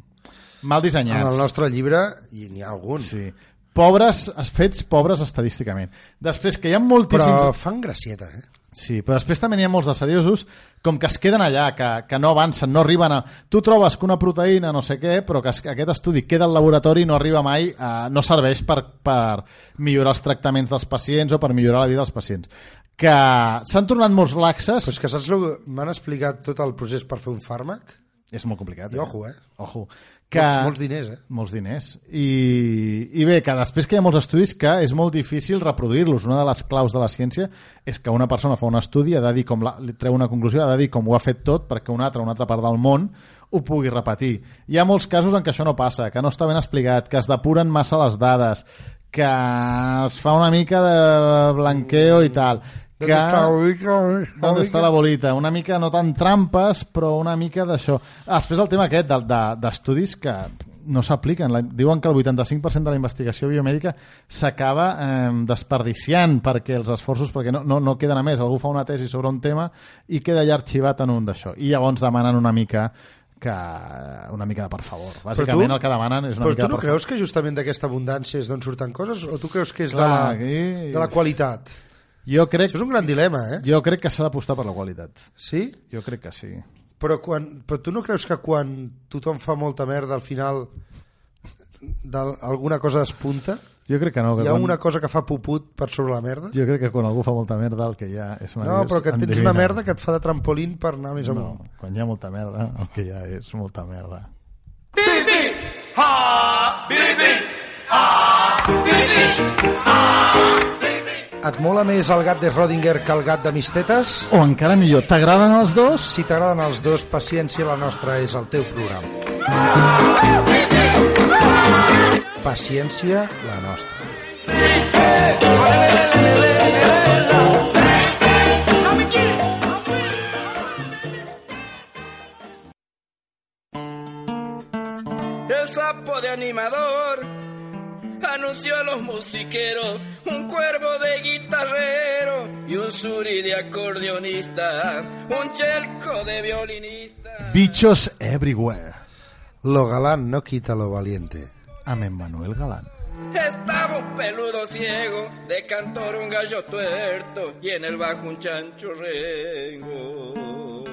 Speaker 1: mal
Speaker 2: En
Speaker 1: dissenyats.
Speaker 2: el nostre llibre i n'hi ha algun,
Speaker 1: Sí. Pobres, fets pobres estadísticament. Després que hi ha moltíssims...
Speaker 2: però fan gracieta, eh?
Speaker 1: Sí, però després també n'hi ha molts de seriosos com que es queden allà, que, que no avancen, no arriben a... Tu trobes que una proteïna no sé què, però que es- que aquest estudi queda al laboratori i no arriba mai, a, no serveix per, per millorar els tractaments dels pacients o per millorar la vida dels pacients. Que s'han tornat molts laxes...
Speaker 2: Però és que saps el que m'han explicat tot el procés per fer un fàrmac?
Speaker 1: És molt complicat.
Speaker 2: I ojo, eh?
Speaker 1: Ojo.
Speaker 2: Que... Molts, molts diners, eh?
Speaker 1: molts diners. I, I bé, que després que hi ha molts estudis que és molt difícil reproduir-los. Una de les claus de la ciència és que una persona fa un estudi, ha de dir com la, li treu una conclusió, ha de dir com ho ha fet tot perquè una altra, una altra part del món ho pugui repetir. Hi ha molts casos en què això no passa, que no està ben explicat, que es depuren massa les dades, que es fa una mica de blanqueo i tal.
Speaker 2: Doncs
Speaker 1: Que... ¿Dónde està la bolita? Una mica no tan trampes, però una mica d'això. Ah, Després el tema aquest de- de- d'estudis de, que no s'apliquen. La- Diuen que el 85% de la investigació biomèdica s'acaba eh, desperdiciant perquè els esforços, perquè no, no, no queden a més. Algú fa una tesi sobre un tema i queda allà arxivat en un d'això. I llavors demanen una mica que una mica de per favor. Bàsicament el que demanen és una
Speaker 2: però
Speaker 1: mica
Speaker 2: tu no
Speaker 1: de per
Speaker 2: creus que justament d'aquesta abundància és d'on surten coses? O tu creus que és
Speaker 1: Clar,
Speaker 2: de, la,
Speaker 1: aquí-
Speaker 2: de la qualitat?
Speaker 1: Jo crec,
Speaker 2: Això és un gran dilema, eh?
Speaker 1: jo crec que s'ha d'apostar per la qualitat.
Speaker 2: Sí?
Speaker 1: Jo crec que sí.
Speaker 2: Però, quan, però tu no creus que quan tothom fa molta merda al final del, alguna cosa despunta?
Speaker 1: Jo crec que no. Que
Speaker 2: Hi ha
Speaker 1: quan-
Speaker 2: alguna cosa que fa puput per sobre la merda?
Speaker 1: Jo crec que quan algú fa molta merda el que hi ha és una
Speaker 2: No, però que tens una merda que et fa de trampolín per anar més amunt.
Speaker 1: No, quan hi ha molta merda el que hi ha és molta merda.
Speaker 2: Et mola més el gat de Rodinger que el gat de Mistetes?
Speaker 1: O encara millor, t'agraden els dos?
Speaker 2: Si t'agraden els dos, Paciència la nostra és el teu programa. Paciència la nostra.
Speaker 10: El sapo de animador anunció a los musiqueros un cuervo de guitarrero y un suri de acordeonista, un chelco de violinista.
Speaker 1: Bichos everywhere.
Speaker 2: Lo galán no quita lo valiente.
Speaker 1: Amb en Manuel Galán.
Speaker 10: Estaba un peludo ciego, de cantor un gallo tuerto y en el bajo un chancho rengo.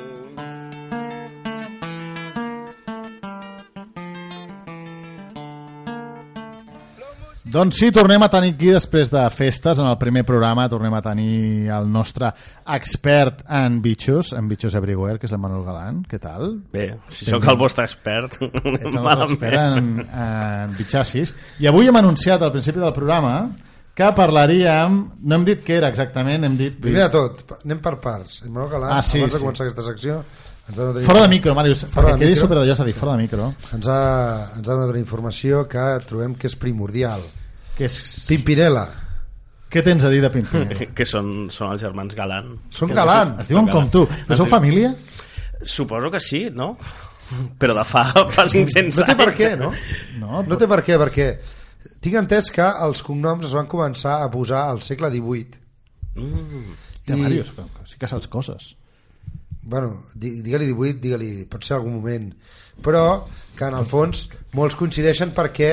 Speaker 1: Doncs sí, tornem a tenir aquí després de festes, en el primer programa tornem a tenir el nostre expert en bitxos, en bitxos everywhere, que és el Manuel Galán. Què tal?
Speaker 11: Bé, si sóc el vostre expert,
Speaker 1: Ets el nostre expert en, en bitxassis. I avui hem anunciat al principi del programa que parlaríem... No hem dit què era exactament, hem dit...
Speaker 2: Primer de tot, pa- anem per parts. El Manuel Galán,
Speaker 1: Ah, sí,
Speaker 2: abans de
Speaker 1: sí.
Speaker 2: començar aquesta secció, Ens ha donat
Speaker 1: Fora de micro, Màrius,
Speaker 2: Fora
Speaker 1: perquè
Speaker 2: de
Speaker 1: quedi
Speaker 2: micro.
Speaker 1: superdellós a dir fora de micro.
Speaker 2: Ens ha, ens ha donat una informació que trobem que és primordial.
Speaker 1: Que és...
Speaker 2: Pimpinela.
Speaker 1: Què tens a dir de Pimpinela?
Speaker 11: que són, són els germans Galant.
Speaker 2: Són galant.
Speaker 1: Es diuen com tu.
Speaker 11: Es
Speaker 1: No sou
Speaker 11: diu-
Speaker 1: família?
Speaker 11: Suposo que sí, no? Però de fa, fa 500 anys.
Speaker 2: No té per què, no?
Speaker 1: No,
Speaker 2: No té per què, perquè tinc entès que els cognoms es van començar a posar al segle XVIII.
Speaker 11: Mm.
Speaker 1: Ja,
Speaker 2: I-
Speaker 1: Màrius, que- que sí que saps coses.
Speaker 2: bueno, di- digue-li 18, digue-li, pot ser algun moment, però que en el fons molts coincideixen perquè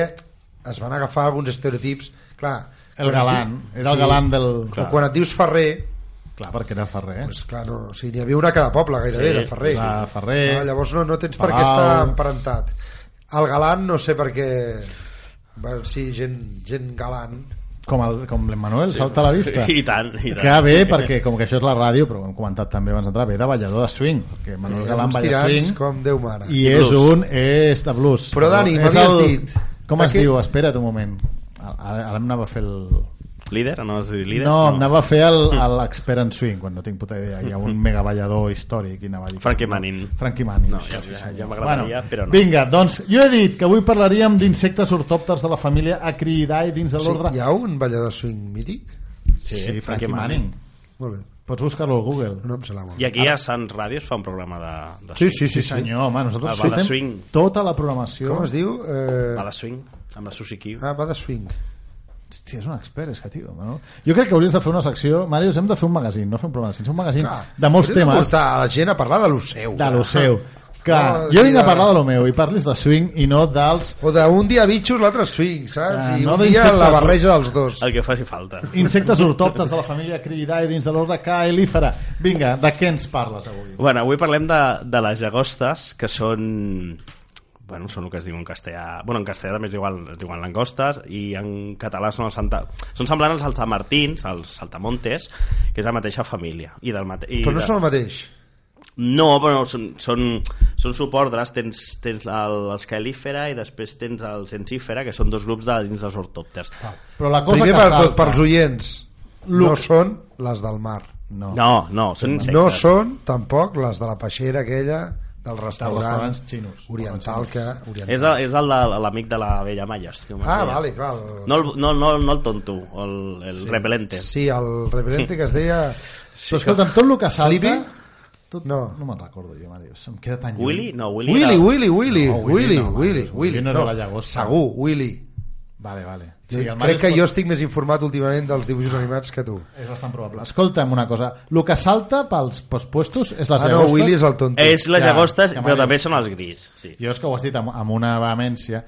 Speaker 2: es van agafar alguns estereotips, clar.
Speaker 1: El galant, era el galant del-
Speaker 2: O quan et dius Ferrer,
Speaker 1: Clar, perquè era Ferrer.
Speaker 2: doncs clar, no, o sigui, n'hi havia una a cada poble gairebé,
Speaker 1: Sí,
Speaker 2: de Ferrer.
Speaker 1: clar, Ferrer.
Speaker 2: Ah, llavors no, no tens per què
Speaker 1: Palau.
Speaker 2: estar emparentat. El galant no sé per què va ser gent, gent galant.
Speaker 1: Com, el, com l'Emmanuel, salta a la vista.
Speaker 11: I tant, i tant.
Speaker 1: Que ve perquè, com que això és la ràdio, però ho hem comentat també abans d'entrar, ve de ballador de swing, perquè Manuel Galant
Speaker 2: eh, uns
Speaker 1: balla
Speaker 2: tirants
Speaker 1: swing
Speaker 2: com Déu mare.
Speaker 1: i és un és de blues.
Speaker 2: Però, Dani,
Speaker 1: és
Speaker 2: m'havies
Speaker 1: el-
Speaker 2: dit-
Speaker 1: Com
Speaker 2: de
Speaker 1: es
Speaker 2: què-
Speaker 1: diu? Espera't un moment. Ara, ara em anava a fer el,
Speaker 11: Líder? No has dit líder?
Speaker 1: No, em anava a fer el- el l'expert en swing, quan no tinc puta idea. Hi ha un mega ballador històric i anava a dir...
Speaker 11: Frankie Manning.
Speaker 1: Frankie Manning.
Speaker 11: No, ja- ja- ja m'agradaria, però no.
Speaker 1: Vinga, doncs jo he dit que avui parlaríem d'insectes ortòpters de la família Acriidae dins de
Speaker 2: Sí,
Speaker 1: l'ordre...
Speaker 2: hi ha un ballador swing mític?
Speaker 1: Sí,
Speaker 11: Frankie
Speaker 1: Frankie, Manning.
Speaker 11: Manning.
Speaker 2: Molt bé,
Speaker 1: Pots buscar-lo al Google.
Speaker 2: no em sembla molt.
Speaker 11: I aquí a Sants Ràdio es fa un programa de, de
Speaker 2: Ah. Sí, sí, sí, sí.
Speaker 1: Senyor, home,
Speaker 11: El
Speaker 1: nosaltres
Speaker 11: ball de
Speaker 1: fem
Speaker 11: swing.
Speaker 1: tota la programació.
Speaker 2: Com es diu? Eh...
Speaker 11: a la swing, amb la Susi Kiu.
Speaker 2: Ah, va de swing.
Speaker 1: Hòstia, és un expert, és que, tio, no? Jo crec que hauries de fer una secció... Màrius, hem de fer un magazín, no fer un programa, sinó un magazín de molts
Speaker 2: Hauries de
Speaker 1: temes.
Speaker 2: Portar a la gent a parlar de lo seu. eh?
Speaker 1: de lo seu. Que
Speaker 2: No,
Speaker 1: jo vinc
Speaker 2: mira.
Speaker 1: a parlar de lo meu i parlis de swing i no dels
Speaker 2: O d'un dia bitxos, l'altre swing, saps?
Speaker 1: Ah,
Speaker 2: I
Speaker 1: no
Speaker 2: un dia
Speaker 1: d'insectes.
Speaker 2: la barreja dels dos.
Speaker 11: El que faci falta.
Speaker 1: insectes ortòptes de la família Criidae dins de l'ordre caelífera. Vinga, de què ens parles avui?
Speaker 11: Bueno, avui parlem de, de les llagostes, que són... Bueno, són el que es diu en castellà... Bueno, en castellà també es diuen, es diuen langostes i en català són els santa... Són semblants als saltamartins, als saltamontes, que és la mateixa família. I del mate... I
Speaker 2: Però no
Speaker 11: de...
Speaker 2: són el mateix.
Speaker 11: No, però són, són, són subordres. Tens, tens l'escalífera i després tens el sensífera, que són dos grups de dins dels ortòpters.
Speaker 2: Ah.
Speaker 1: Però la cosa
Speaker 2: Primer
Speaker 1: que
Speaker 2: per,
Speaker 1: salta...
Speaker 2: per als oients, no són les del mar.
Speaker 1: No, no.
Speaker 11: No, no, són insectes.
Speaker 2: No són tampoc les de la peixera aquella del restaurant
Speaker 1: restaurants xinos.
Speaker 2: oriental que... Oriental.
Speaker 11: És, el, és el de l'amic de la Vella Malles. que
Speaker 2: Ah,
Speaker 11: m'has dit.
Speaker 2: vale, clar. El...
Speaker 11: No eh. el, no, no, no el tonto, el, el sí. repelente.
Speaker 2: Sí, el repelente que es deia...
Speaker 1: Sí, Però escolta'm, tot el que salta...
Speaker 2: Flippy?
Speaker 1: Tot... No,
Speaker 2: No.
Speaker 1: no me'n recordo jo, Màrius. Em queda tan lluny.
Speaker 11: Willy? No, Willy.
Speaker 2: Willy,
Speaker 11: era-
Speaker 2: Willy, Willy,
Speaker 1: No, Willy
Speaker 2: Willy,
Speaker 1: no, Marcos,
Speaker 2: Willy,
Speaker 1: Willy
Speaker 2: Willy.
Speaker 1: no era la llagosta.
Speaker 2: Segur, Willy.
Speaker 1: Vale, vale. O sigui, el
Speaker 2: Sí, Crec
Speaker 1: Màrius
Speaker 2: que
Speaker 1: pot-
Speaker 2: jo estic més informat últimament dels dibuixos animats que tu.
Speaker 1: És bastant probable. Escolta'm una cosa. El que salta pels, pels puestos és les
Speaker 2: Ah, no,
Speaker 1: llagostes.
Speaker 2: Willy és el tonto.
Speaker 11: És les
Speaker 1: Ja,
Speaker 11: llagostes,
Speaker 1: ja
Speaker 11: però
Speaker 1: m'ha
Speaker 11: també
Speaker 1: dit.
Speaker 11: són els gris. Sí.
Speaker 1: Jo és que ho has dit amb, amb una vehemència.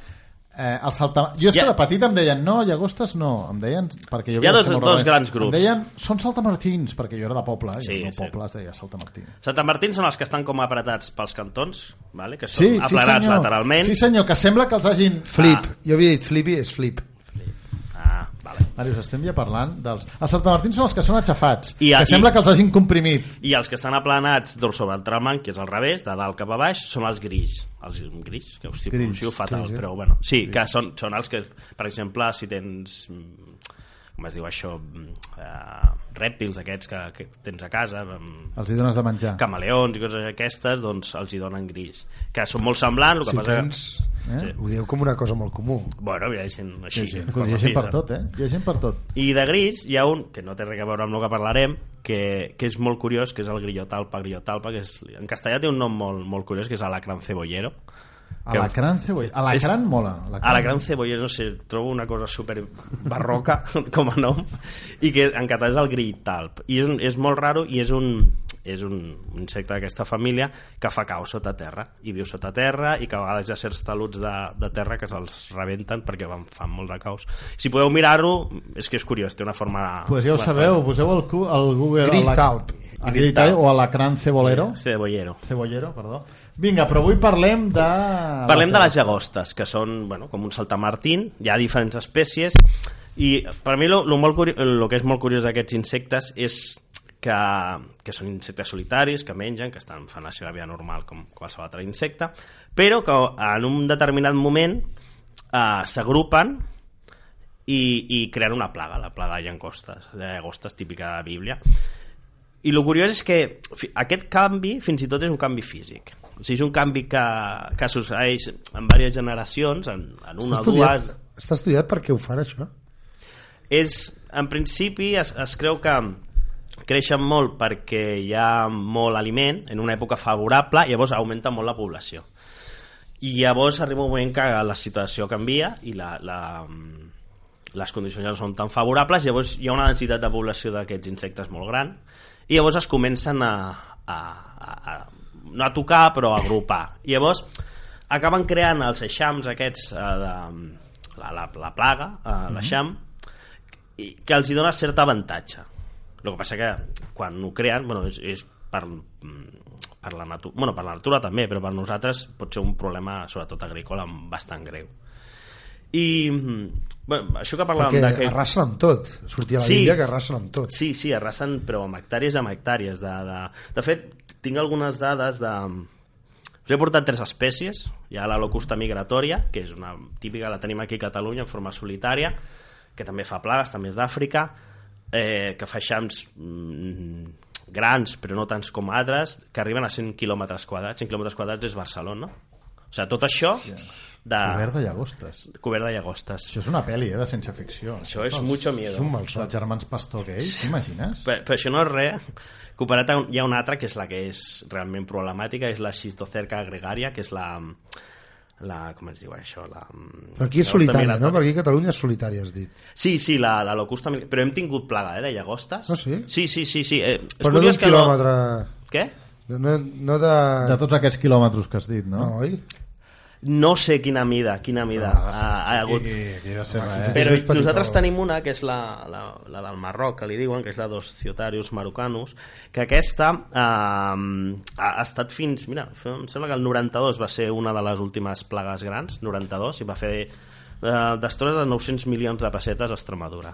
Speaker 1: Eh, el salta... Jo és
Speaker 11: Hi ha-
Speaker 1: que de petit em deien, no, llagostes no, em deien... Perquè jo
Speaker 11: Hi ha
Speaker 1: havia de
Speaker 11: dos-
Speaker 1: ser molt
Speaker 11: dos
Speaker 1: rebel.
Speaker 11: grans grups.
Speaker 1: Em deien, són saltamartins, perquè jo era de poble, eh?
Speaker 11: Sí,
Speaker 1: sí, no
Speaker 11: sí.
Speaker 1: poble es deia saltamartín.
Speaker 11: Santa Martín són els que estan com apretats pels cantons, vale? que són
Speaker 1: Sí, sí,
Speaker 11: aplanats
Speaker 1: senyor.
Speaker 11: lateralment.
Speaker 1: Sí, senyor, que sembla que els hagin...
Speaker 2: Flip. Jo havia dit Flippy, és Flip.
Speaker 11: Ah, vale.
Speaker 1: Marius, estem ja parlant dels... Els saltamartins són els que són aixafats, I,
Speaker 11: I-
Speaker 1: que
Speaker 11: i-
Speaker 1: sembla que els hagin comprimit.
Speaker 11: I els que estan aplanats dorsoventramen, que és al revés, de dalt cap a baix, són els gris. Els gris, que hosti,
Speaker 1: Gris,
Speaker 11: pronuncio fatal,
Speaker 1: gris, eh?
Speaker 11: però bueno. Sí, que són, són els que, per exemple, si tens mm, com es diu això, uh, rèptils aquests que, que tens a casa, mm,
Speaker 1: Els hi dones de menjar.
Speaker 11: camaleons i coses aquestes, doncs els hi donen gris. Que són molt semblants, el que
Speaker 2: Si
Speaker 11: passa...
Speaker 2: tens...
Speaker 1: Eh?
Speaker 11: Sí.
Speaker 2: Ho dieu com una cosa molt comú.
Speaker 11: Bueno, hi ha gent així.
Speaker 1: Sí, sí, que ho llegeixen per tot, eh? Llegeixen per tot.
Speaker 11: I de gris hi ha un, que no té res a veure amb el que parlarem, que, que és molt curiós, que és el grillotalpa, grillotalpa, que és, en castellà té un nom molt, molt curiós, que és alacran cebollero. Que-
Speaker 1: Alacran, ceboll... Alacran
Speaker 11: És-
Speaker 1: mola.
Speaker 11: Alacran cebollero, no sé, trobo una cosa super barroca com a nom, i que en català és el grillotalp. I és, un, és molt raro i és un, és un insecte d'aquesta família que fa cau sota terra i viu sota terra i que a vegades hi ha certs taluts de, de terra que se'ls rebenten perquè van, fan molt de caos si podeu mirar-ho, és que és curiós té una forma
Speaker 1: Pues ja ho
Speaker 11: bastant-
Speaker 1: sabeu, poseu al, cu- al Google...
Speaker 2: Gris
Speaker 1: alac-
Speaker 2: talp.
Speaker 1: A Gris talp o alacran cebolero.
Speaker 11: Cebollero.
Speaker 1: Cebollero, perdó. Vinga, però avui parlem de... Ah,
Speaker 11: Parlem de les llagostes, que són bueno, com un saltamartín, hi ha diferents espècies, i per mi lo, lo, molt curi lo que és molt curiós d'aquests insectes és que, que són insectes solitaris, que mengen, que estan, fan la seva vida normal com qualsevol altre insecte, però que en un determinat moment eh, s'agrupen i, i creen una plaga, la plaga de llagostes, de llagostes típica de la Bíblia I el curiós és que fi- aquest canvi fins i tot és un canvi físic. O sigui, és un canvi que, que succeeix en diverses generacions, en, en una
Speaker 2: Està
Speaker 11: o dues...
Speaker 2: estudiat, està estudiat per què ho fan, això?
Speaker 11: és, en principi es, es creu que creixen molt perquè hi ha molt aliment en una època favorable i llavors augmenta molt la població i llavors arriba un moment que la situació canvia i la, la, les condicions ja no són tan favorables llavors hi ha una densitat de població d'aquests insectes molt gran i llavors es comencen a, a, a, a no a tocar però a agrupar i llavors acaben creant els eixams aquests eh, de, la, la, la plaga, eh, l'eixam i que els hi dona cert avantatge. El que passa que quan ho creen, bueno, és, és per, mm, per, la natura, bueno, per la natura també, però per nosaltres pot ser un problema, sobretot agrícola, bastant greu. I mm, bueno, això que parlàvem...
Speaker 2: Perquè
Speaker 11: de que...
Speaker 2: arrasen amb tot. Sortia a la Bíblia que arrasen amb tot.
Speaker 11: Sí, sí, arrasen, però amb hectàrees amb hectàrees. De, de... de fet, tinc algunes dades de... Us he portat tres espècies. Hi ha la locusta migratòria, que és una típica, la tenim aquí a Catalunya en forma solitària, que també fa plagues, també és d'Àfrica, eh, que fa eixams mm, grans, però no tants com altres, que arriben a 100 quilòmetres quadrats. 100 quilòmetres quadrats és Barcelona. O sigui, tot això... De...
Speaker 1: Cobert de llagostes.
Speaker 11: Cobert de llagostes.
Speaker 1: Això és una pel·li, eh, de ciència ficció.
Speaker 11: Això és mucho miedo.
Speaker 1: És un malson. Els germans Pastor que ells, t'imagines?
Speaker 11: Però, però això no és res. Comparat a un, hi ha una altra que és la que és realment problemàtica, és la xistocerca gregària, que és la... la com es diu això? La, mm,
Speaker 2: Però aquí és
Speaker 11: llagosta
Speaker 2: solitària,
Speaker 11: migratòria.
Speaker 2: no? Perquè aquí a Catalunya és solitària, has dit.
Speaker 11: Sí, sí, la, la locusta... mig- Però hem tingut plaga, eh, de llagostes.
Speaker 2: Ah, sí?
Speaker 11: Sí, sí, sí. sí. Eh, és
Speaker 2: Però no d'un
Speaker 11: curiós que no...
Speaker 2: quilòmetre...
Speaker 11: Què?
Speaker 2: No, no de...
Speaker 1: De tots aquests quilòmetres que has dit, no?
Speaker 2: No, oi?
Speaker 11: No sé quina mida, quina mida
Speaker 1: Ah,
Speaker 11: ah,
Speaker 1: sí,
Speaker 11: ha,
Speaker 1: sí,
Speaker 11: ha hagut.
Speaker 1: Aquí, aquí de ser, eh?
Speaker 11: Però
Speaker 2: És més
Speaker 11: nosaltres
Speaker 2: petitó.
Speaker 11: tenim una, que és la, la, la del Marroc, que li diuen, que és la dos ciotarius marocanos, que aquesta eh, ha estat fins... Mira, fe- em sembla que el 92 va ser una de les últimes plagues grans, 92, i va fer eh, destrosses de 900 milions de pessetes a Extremadura.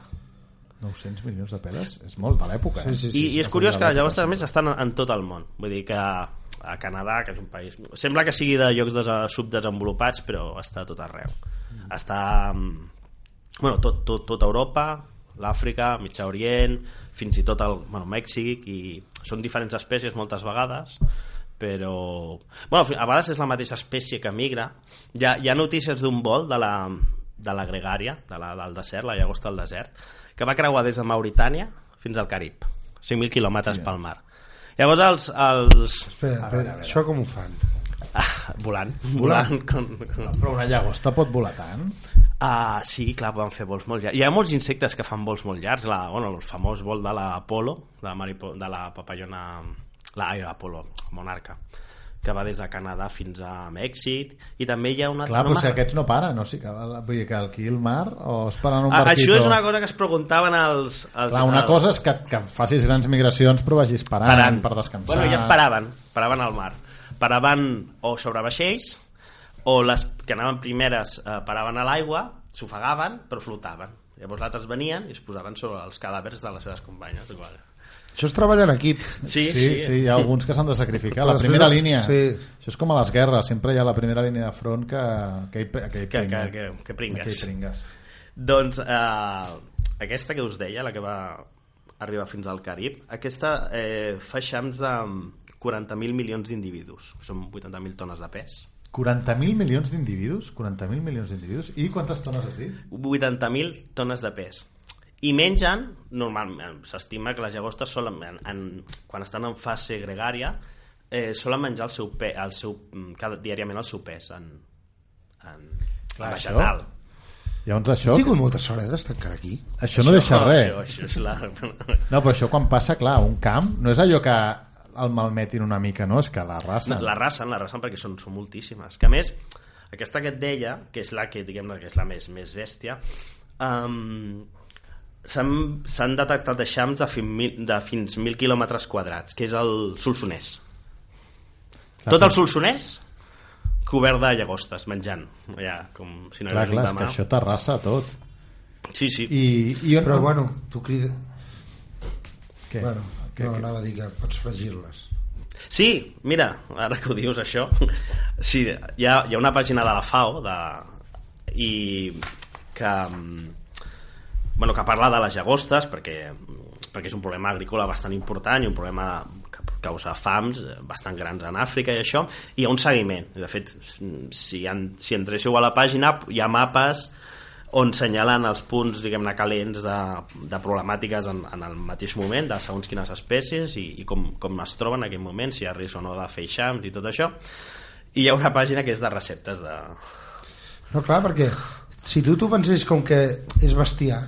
Speaker 1: 900 milions de peles? És molt de l'època, eh?
Speaker 2: Sí, sí,
Speaker 11: I,
Speaker 2: sí,
Speaker 11: i és curiós que les llagostes, a més, estan en tot el món. Vull dir que a Canadà, que és un país... Sembla que sigui de llocs des subdesenvolupats, però està a tot arreu. Està... mm, Bueno, tot, tot, tot Europa, l'Àfrica, Mitjà Orient, fins i tot el bueno, Mèxic, i són diferents espècies moltes vegades, però... Bueno, a vegades és la mateixa espècie que migra. Hi ha, hi ha notícies d'un vol de la, de la gregària, de la, del desert, la llagosta del desert, que va creuar des de Mauritània fins al Carib, 5.000 quilòmetres pel mar. Llavors, els, els...
Speaker 2: Espera, espera, això com ho fan?
Speaker 11: Ah, volant, volant, com, com,
Speaker 1: Però una llagosta pot volar tant?
Speaker 11: Ah, sí, clar, poden fer vols molt llargs. Hi ha molts insectes que fan vols molt llargs. La, bueno, el famós vol de l'Apolo, de, la maripo, de la papallona... La, ai, l'Apolo, monarca, que va des de Canadà fins a Mèxic. I també hi ha una...
Speaker 1: Clar,
Speaker 11: no
Speaker 1: però si
Speaker 11: me'n-
Speaker 1: aquests no paren, o sigui que, vull dir que aquí el mar o es paren un
Speaker 11: Ah,
Speaker 1: barquito...
Speaker 11: Això és una cosa que es preguntaven els... els
Speaker 1: Clar, una
Speaker 11: els-
Speaker 1: cosa és que, que facis grans migracions però vagis parant,
Speaker 11: Parant.
Speaker 1: per descansar.
Speaker 11: Bueno, ja es paraven, paraven al mar. Paraven o sobre vaixells, o les que anaven primeres eh, paraven a l'aigua, s'ofegaven, però flotaven. Llavors l'altres venien i es posaven sobre els cadàvers de les seves companyes. Igual.
Speaker 2: Això es treballa en equip.
Speaker 11: Sí,
Speaker 1: sí, sí, hi ha alguns que s'han de sacrificar. La primera
Speaker 2: Després de-
Speaker 1: línia.
Speaker 2: sí.
Speaker 1: Això és com a les guerres, sempre hi ha la primera línia de front que, que, hi, que, hi
Speaker 11: Que, que,
Speaker 1: pringa.
Speaker 11: que, que pringues.
Speaker 1: Que hi pringues.
Speaker 11: Doncs eh, aquesta que us deia, la que va arribar fins al Carib, aquesta eh, fa xams de 40.000 milions d'individus, que són 80.000 tones de pes.
Speaker 1: 40.000 milions d'individus? 40.000 milions d'individus? I quantes tones has dit?
Speaker 11: 80.000 tones de pes. I mengen, normalment, s'estima que les llagostes solen, en, en, quan estan en fase gregària, eh, solen menjar el seu, pe, el seu, mm, cada, diàriament el seu pes en, en,
Speaker 1: Clar,
Speaker 11: en
Speaker 1: això-
Speaker 11: vegetal.
Speaker 1: Llavors això,
Speaker 2: He tingut molta sort, eh, d'estar encara aquí.
Speaker 1: això no deixa res.
Speaker 11: Això, això és la...
Speaker 1: No, però això quan passa, clar, un camp no és allò que el malmetin una mica, no? És que la raça...
Speaker 11: No, la racen, la racen perquè són, són moltíssimes. Que a més, aquesta que et deia, que és la que, diguem-ne, que és la més, més bèstia, um, s'han s'han detectat eixams de, fin, de fins 1.000 quilòmetres quadrats, que és el Solsonès.
Speaker 1: Clar,
Speaker 11: Tot el Solsonès cobert de llagostes, menjant. Ja, com si no
Speaker 1: Clar,
Speaker 11: hi hagués
Speaker 1: clar,
Speaker 11: un
Speaker 1: és que
Speaker 11: demà.
Speaker 1: això t'arrassa tot.
Speaker 11: Sí, sí. I...
Speaker 1: I, i on...
Speaker 2: Però, bueno, tu crida...
Speaker 1: Què?
Speaker 2: Bueno,
Speaker 1: Què-
Speaker 2: no,
Speaker 1: què?
Speaker 2: anava a dir que pots fregir-les.
Speaker 11: sí, mira, ara que ho dius això, sí, hi ha, hi ha una pàgina de la FAO de, i que, mm, bueno, que parla de les llagostes perquè mm, perquè és un problema agrícola bastant important i un problema que pot causar fams eh, bastant grans en Àfrica i això, i hi ha un seguiment. De fet, si, en, si entréssiu a la pàgina hi ha mapes on senyalen els punts diguem-ne calents de, de problemàtiques en, en el mateix moment, de segons quines espècies i, i com, com es troben en aquell moment, si hi ha risc o no de fer eixams i tot això. I hi ha una pàgina que és de receptes de...
Speaker 2: No, clar, perquè si tu t'ho pensés com que és bestiar,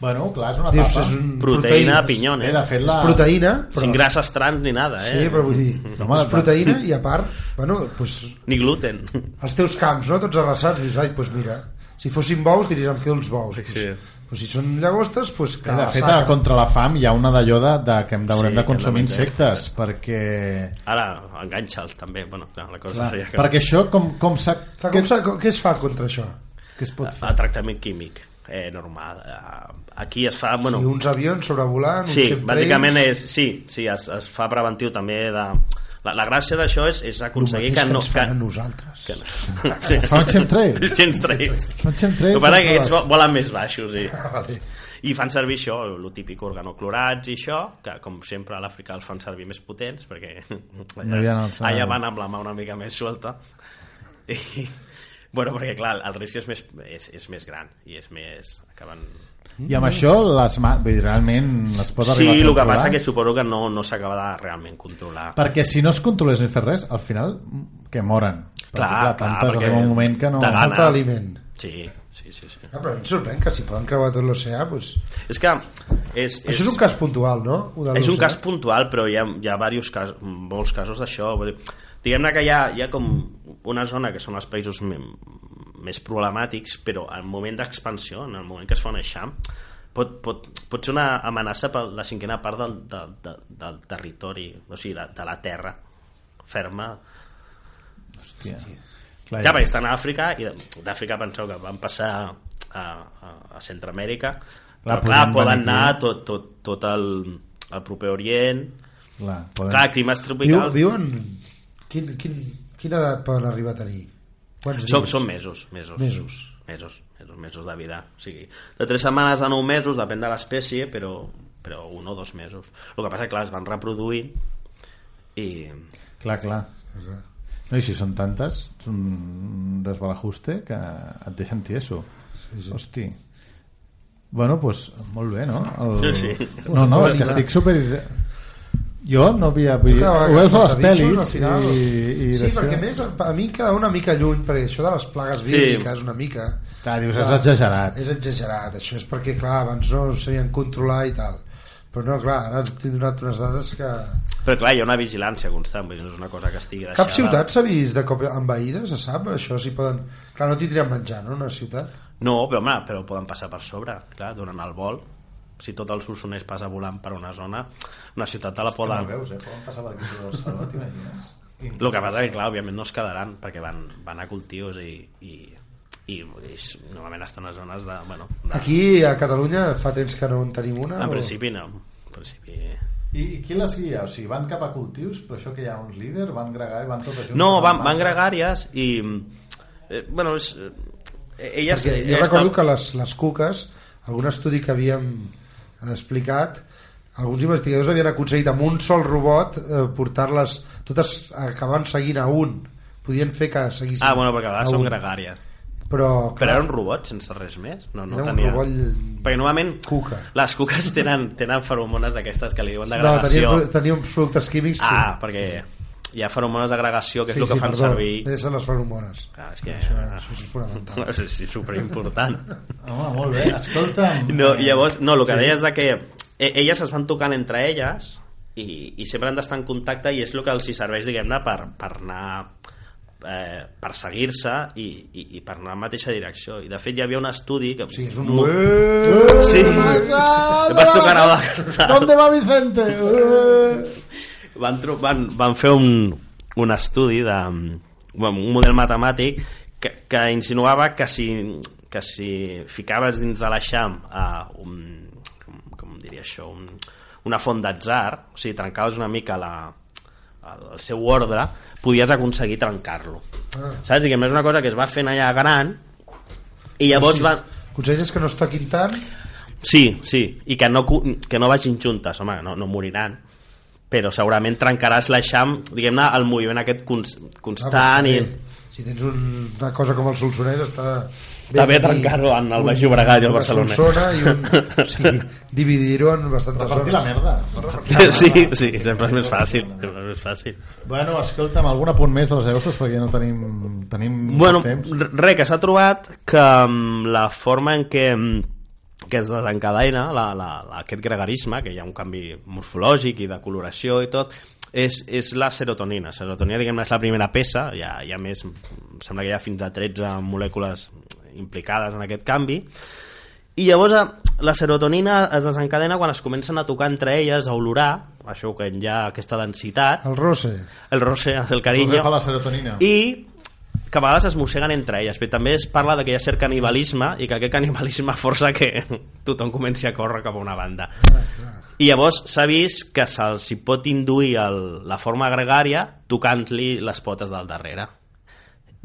Speaker 1: Bueno, clar, és una
Speaker 2: Dius,
Speaker 1: tapa.
Speaker 2: és un-
Speaker 11: Proteïna,
Speaker 2: Proteïnes.
Speaker 11: a pinyon, eh?
Speaker 1: Eh, de fet, la-
Speaker 2: és proteïna, però...
Speaker 11: Sin grasses trans ni nada, eh?
Speaker 2: Sí, però vull dir,
Speaker 1: Home,
Speaker 2: és proteïna i a part, bueno, doncs,
Speaker 11: Ni gluten.
Speaker 2: els teus camps, no? tots arrasats, dius, ai, doncs mira, si fossin bous diries, em quedo els bous. Doncs,
Speaker 11: Sí.
Speaker 2: doncs si són llagostes, doncs
Speaker 1: Que de
Speaker 2: cada
Speaker 1: fet, a
Speaker 2: saca.
Speaker 1: contra la fam hi ha una d'allò de, de que hem d'haurem sí,
Speaker 11: Sí,
Speaker 1: de
Speaker 11: que
Speaker 1: consumir
Speaker 11: hem de menjar.
Speaker 1: insectes, perquè...
Speaker 11: Ara, enganxa'ls també. Bueno, clar, la cosa
Speaker 1: Clar,
Speaker 11: seria que...
Speaker 1: perquè això com, com s'ha...
Speaker 2: Clar,
Speaker 1: què-
Speaker 2: com, sa- com, què es fa contra això?
Speaker 1: Què es pot fer?
Speaker 11: A tractament químic, eh, normal. Eh, Aquí es fa... Bueno,
Speaker 2: No. I uns avions sobrevolant,
Speaker 11: Sí,
Speaker 2: uns chemtrails,
Speaker 11: bàsicament és, sí, sí es, es fa preventiu també de... La, la gràcia d'això és, és
Speaker 2: el mateix
Speaker 11: aconseguir
Speaker 2: que,
Speaker 11: que no...
Speaker 2: ens fan a nosaltres.
Speaker 11: que no. Sí.
Speaker 1: Es fan chemtrails?
Speaker 11: Chemtrails.
Speaker 1: Fan chemtrails
Speaker 11: El que passa és
Speaker 1: contra
Speaker 11: que ells
Speaker 1: les-
Speaker 11: volen més baixos, sí.
Speaker 2: Vale.
Speaker 11: I fan servir això, el típic organoclorats i això, que com sempre a l'Àfrica els fan servir més potents, perquè
Speaker 1: No hi ha
Speaker 11: allà,
Speaker 1: alçada.
Speaker 11: allà van amb la mà una mica més suelta. I, bueno, perquè clar, el risc és més, és, és més gran i és més... Acaben...
Speaker 1: I amb això les ma... Vull dir, realment les pot arribar
Speaker 11: Sí,
Speaker 1: a
Speaker 11: el que
Speaker 1: controlar?
Speaker 11: passa que suposo que no, no s'acaba de realment controlar.
Speaker 1: Perquè si no es controlés ni fer res, al final, mm, que moren. Perquè,
Speaker 11: Clar, clar,
Speaker 1: tantes,
Speaker 11: perquè
Speaker 1: arriba un moment que no...
Speaker 11: de gana.
Speaker 2: Falta d'aliment.
Speaker 11: Sí, sí, sí. sí.
Speaker 2: Ah, però a mi em sorprèn que si poden creuar tot l'oceà, doncs...
Speaker 11: És que... És, és,
Speaker 2: Això és un cas puntual, no? Ho de eh?
Speaker 11: és un
Speaker 2: l'oceà.
Speaker 11: cas puntual, però hi ha, hi ha diversos cas, molts casos d'això. Vull dir, Diguem-ne que hi ha, hi ha com una zona que són els països me- més problemàtics, però al moment d'expansió, en el moment que es fa un eixam, pot, pot, pot ser una amenaça per la cinquena part del, del, del, del territori, o sigui, de, de la terra ferma.
Speaker 1: Hòstia. Clar,
Speaker 11: Ja, perquè estan a Àfrica, i d'Àfrica penseu que van passar a, a, a Centroamèrica,
Speaker 1: Clar,
Speaker 11: però clar,
Speaker 1: podien
Speaker 11: poden
Speaker 1: venir
Speaker 11: anar
Speaker 1: aquí.
Speaker 11: tot, tot, tot el, el proper Orient,
Speaker 1: clar, poden...
Speaker 11: clar, climes
Speaker 2: Viu,
Speaker 11: tropicals...
Speaker 2: viuen... Quin, quin, quina edat poden arribar a tenir? Quants
Speaker 11: Són,
Speaker 2: dies?
Speaker 11: són mesos, mesos.
Speaker 2: Mesos.
Speaker 11: Mesos, mesos, mesos de vida. O sigui, de 3 setmanes a 9 mesos, depèn de l'espècie, però, però un o dos mesos. El que passa, clar, es van reproduint i...
Speaker 1: Clar, clar. No, i si són tantes, és un desbalajuste que et deixen tieso. Sí, sí. Hosti. Bueno, doncs molt bé, no? El...
Speaker 11: Sí, sí.
Speaker 1: No, no, és que estic super... Jo no havia... Vull dir, ho veus a les
Speaker 2: Contradiccions,
Speaker 1: pel·lis
Speaker 2: al final.
Speaker 1: i, i
Speaker 2: sí,
Speaker 1: d'això-
Speaker 2: perquè a més a mi queda una mica lluny perquè això de les plagues bíbliques una mica
Speaker 1: Clar, dius, és exagerat.
Speaker 2: és exagerat, això és perquè clar, abans no sabien controlar i tal però no, clar, ara t'he donat unes dades que
Speaker 11: Però clar, hi ha una vigilància constant, vull dir, no és una cosa que estigui deixada...
Speaker 2: cap ciutat s'ha vist de cop envaïda se sap, això si poden clar, no tindrien menjar, no, una ciutat
Speaker 11: No, però, home, però poden passar per sobre, clar, durant el vol. Si tot el Solsonès passa volant per una zona, una ciutat te la poden...
Speaker 1: eh? Poden passar per aquí de Barcelona, t'imagines?
Speaker 11: El que passa és que, clar, òbviament no es quedaran perquè van, van a cultius i, i, i, i normalment estan a zones de... Bueno, de...
Speaker 2: aquí a Catalunya fa temps que no en tenim una
Speaker 11: En
Speaker 2: o-
Speaker 11: principi no. En principi...
Speaker 1: I, I qui les guia? O sigui, van cap a cultius, però això que hi ha un líder, van gregar i van tot això...
Speaker 11: No, van, van gregàries i... Eh, bueno, és, eh, elles...
Speaker 2: Perquè jo
Speaker 11: elles
Speaker 2: recordo
Speaker 11: tam-
Speaker 2: que les, les cuques, algun estudi que havíem explicat, alguns investigadors havien aconseguit amb un sol robot eh, portar-les, totes acabaven seguint a un, podien fer que seguissin
Speaker 11: Ah, bueno, perquè
Speaker 2: a
Speaker 11: a vegades són
Speaker 2: un.
Speaker 11: gregàries.
Speaker 2: Però,
Speaker 11: Però
Speaker 2: clar,
Speaker 11: era un robot sense res més? No, no
Speaker 2: Era un
Speaker 11: tenia...
Speaker 2: robot-
Speaker 11: Perquè normalment
Speaker 2: Cuca.
Speaker 11: les cuques tenen, tenen feromones d'aquestes que li diuen
Speaker 2: no, tenia,
Speaker 11: d'agregació.
Speaker 2: tenia uns productes químics
Speaker 11: Ah, perquè hi ha feromones d'agregació que és el que fan
Speaker 2: perdó,
Speaker 11: servir...
Speaker 2: Són les feromones.
Speaker 11: Clar, és que...
Speaker 2: Això, això és fonamental.
Speaker 11: No, és, és superimportant.
Speaker 1: Home, molt bé, escolta'm. eh,
Speaker 11: No, llavors, no, el que deies de que e- elles es van tocant entre elles i, i sempre han d'estar en contacte i és el que els hi serveix, diguem-ne, per, per anar eh, per seguir-se i, i, i per anar en la mateixa direcció i de fet hi havia un estudi que...
Speaker 2: O sigui, és un...
Speaker 11: Mo-
Speaker 1: Eh,
Speaker 11: Sí.
Speaker 1: Exacte.
Speaker 11: Em vas tocar a la-
Speaker 1: ¿Dónde va Vicente? Eh.
Speaker 11: van, tro- van, van fer un, un estudi de bueno, un model matemàtic que, que insinuava que si, que si ficaves dins de l'eixam a un, com, com diria això un, una font d'atzar o sigui, trencaves una mica la, el, el seu ordre podies aconseguir trencar-lo
Speaker 2: Ah.
Speaker 11: saps? Diguem, és una cosa que es va fent allà gran i llavors
Speaker 2: Sí,
Speaker 11: van,
Speaker 2: Aconselles que no es toquin tant
Speaker 11: Sí, sí, i que no, cu- que no vagin juntes, home, no, no moriran però segurament trencaràs l'eixam diguem-ne, el moviment aquest cons constant i...
Speaker 2: Ah, doncs Si tens un- una cosa com el Solsonès, està...
Speaker 11: Està bé
Speaker 2: tenir
Speaker 11: trencar-ho en el
Speaker 2: un-
Speaker 11: Baix Llobregat i el
Speaker 2: una
Speaker 11: Barcelona.
Speaker 2: Solsona i un... O sigui, dividir-ho en bastantes
Speaker 1: Repartir
Speaker 2: zones.
Speaker 1: la merda.
Speaker 11: Sí, sí, sempre és més fàcil, sempre és més fàcil.
Speaker 1: Bueno, escolta'm, algun apunt més de les Eustres perquè ja no tenim, tenim
Speaker 11: Bueno,
Speaker 1: poc temps.
Speaker 11: r- res, que s'ha trobat que mm, la forma en què, mm, que es desencadena la, la, la, aquest gregarisme, que hi ha un canvi morfològic i de coloració i tot, és, és la serotonina. Serotonina, diguem és la primera peça, hi ha, hi ha més, em sembla que hi ha fins a 13 molècules implicades en aquest canvi, i llavors eh, la serotonina es desencadena quan es comencen a tocar entre elles, a olorar, això que hi ha aquesta densitat,
Speaker 2: El Rosse.
Speaker 11: el roce del carinyo,
Speaker 1: Roser fa la serotonina.
Speaker 11: i que a vegades es mosseguen entre elles però també es parla de que hi ha cert canibalisme i que aquest canibalisme força que tothom comenci a córrer cap a una banda i llavors s'ha vist que se'ls hi pot induir el, la forma gregària tocant-li les potes del darrere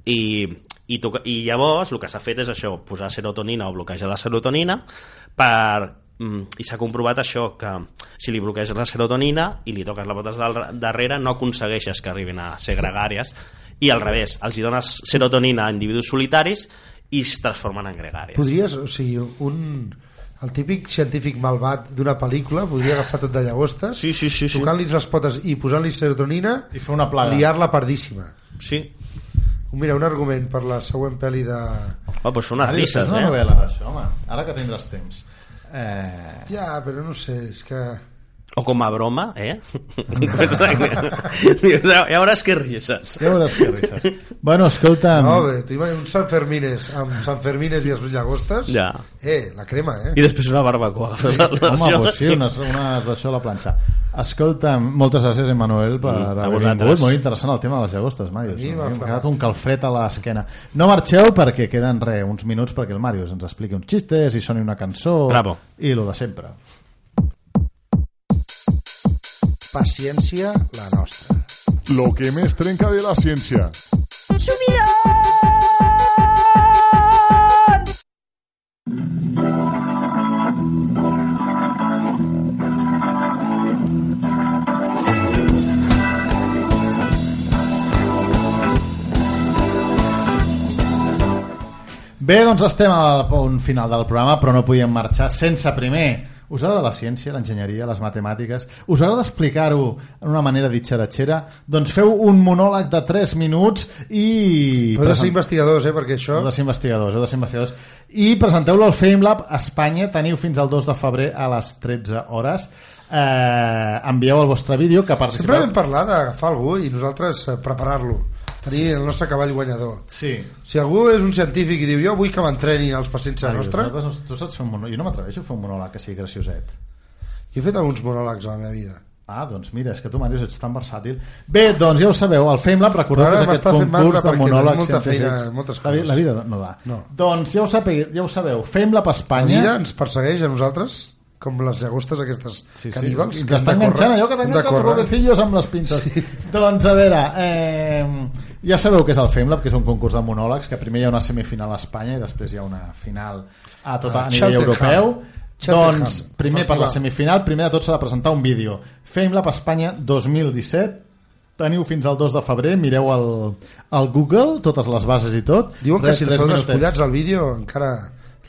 Speaker 11: i, i, toca, i llavors el que s'ha fet és això, posar serotonina o bloquejar la serotonina per, mm, i s'ha comprovat això que si li bloqueges la serotonina i li toques les botes del darrere no aconsegueixes que arribin a ser gregàries i al revés, els hi dones serotonina a individus solitaris i es transformen en gregàries
Speaker 2: Podries, o sigui, un... El típic científic malvat d'una pel·lícula podria agafar tot de llagostes,
Speaker 11: sí, sí, sí, sí.
Speaker 2: tocant-li les potes i posant-li serotonina,
Speaker 1: I fer una plaga.
Speaker 2: liar-la pardíssima.
Speaker 11: sí.
Speaker 2: Mira, un argument per la següent pel·li de...
Speaker 11: Oh, pues són unes
Speaker 1: Ari,
Speaker 11: risses,
Speaker 1: és una
Speaker 11: eh?
Speaker 1: novel·la d'això, home. Ara que tindràs temps. Eh,
Speaker 2: Ja, però no sé, és que...
Speaker 11: O com a broma, eh? Dius, "Ah, ja veuràs que risses.
Speaker 1: ja veuràs que rixes. bueno, escolta'm,
Speaker 2: No, bé, tu imagina un Sant Fermines amb Sant Fermines i els llagostes.
Speaker 11: Ja.
Speaker 2: Eh, la crema, eh?
Speaker 11: I després una barbacoa. Sí,
Speaker 1: home, pues sí, unes, unes d'això a la planxa. Escolta'm, moltes gràcies, Emmanuel, per
Speaker 11: Mm, a
Speaker 1: haver
Speaker 11: vosaltres.
Speaker 1: vingut. Molt interessant el tema de les llagostes, Màrius.
Speaker 2: A mi m'ha
Speaker 1: M'ha
Speaker 2: flamat.
Speaker 1: quedat un calfred a l'esquena. No marxeu perquè queden re, uns minuts perquè el Màrius ens expliqui uns xistes i soni una cançó
Speaker 11: Bravo.
Speaker 1: i lo de sempre.
Speaker 2: Paciència, la nostra.
Speaker 5: Lo que més trenca de la ciència.
Speaker 1: Bé, doncs estem al punt final del programa, però no podíem marxar sense primer us agrada la ciència, l'enginyeria, les matemàtiques? Us agrada explicar-ho en una manera ditxeratxera? Doncs feu un monòleg de 3 minuts i...
Speaker 2: Heu de ser
Speaker 1: present-
Speaker 2: investigadors, eh, perquè això...
Speaker 1: Heu de ser investigadors, heu de ser investigadors. I presenteu-lo al FameLab a Espanya. Teniu fins al 2 de febrer a les 13 hores. Eh, envieu el vostre vídeo que
Speaker 2: Sempre
Speaker 1: participeu...
Speaker 2: vam parlar d'agafar algú i nosaltres eh, preparar-lo. Tenir el nostre cavall guanyador.
Speaker 1: Sí.
Speaker 2: Si algú és un científic i diu jo vull que m'entrenin els pacients a la nostra,
Speaker 1: Nosaltres no- tu saps fer un monòleg? Jo no m'atreveixo a fer un monòleg que sigui gracioset.
Speaker 2: jo he fet alguns monòlegs a la meva vida.
Speaker 1: Ah, doncs mira, és que tu, Màrius, ets tan versàtil. Bé, doncs ja ho sabeu, el FameLab, recordeu
Speaker 2: Ara
Speaker 1: que és aquest
Speaker 2: m'està fent mandra
Speaker 1: concurs de
Speaker 2: perquè
Speaker 1: monòlegs
Speaker 2: tenim molta
Speaker 1: científics.
Speaker 2: feina,
Speaker 1: La
Speaker 2: moltes
Speaker 1: vi-
Speaker 2: coses.
Speaker 1: La, vida no da.
Speaker 2: No.
Speaker 1: Doncs ja ho, sabeu, ja ho sabeu, FameLab
Speaker 2: La
Speaker 1: Espanya...
Speaker 2: vida ens persegueix a nosaltres, com les llagostes aquestes
Speaker 1: Sí, sí,
Speaker 2: caníbals.
Speaker 1: ens
Speaker 2: que hem
Speaker 1: està
Speaker 2: de
Speaker 1: enganxant
Speaker 2: córrer,
Speaker 1: allò que
Speaker 2: hem de
Speaker 1: t'enganxa els
Speaker 2: córrer.
Speaker 1: robecillos amb les pintes. Sí. Doncs a veure, eh, ja sabeu que és el FemLab, que és un concurs de monòlegs, que primer hi ha una semifinal a Espanya i després hi ha una final a tot a
Speaker 2: Ah,
Speaker 1: nivell
Speaker 2: Cheltenham.
Speaker 1: europeu.
Speaker 2: Cheltenham.
Speaker 1: Doncs primer per la
Speaker 2: Festival.
Speaker 1: semifinal, primer de tot s'ha de presentar un vídeo. FemLab Espanya 2017, Teniu fins al 2 de febrer, mireu el, el Google, totes les bases i tot.
Speaker 2: Diuen que
Speaker 1: Res,
Speaker 2: si el
Speaker 1: tres
Speaker 2: feu
Speaker 1: minutets.
Speaker 2: despullats al vídeo encara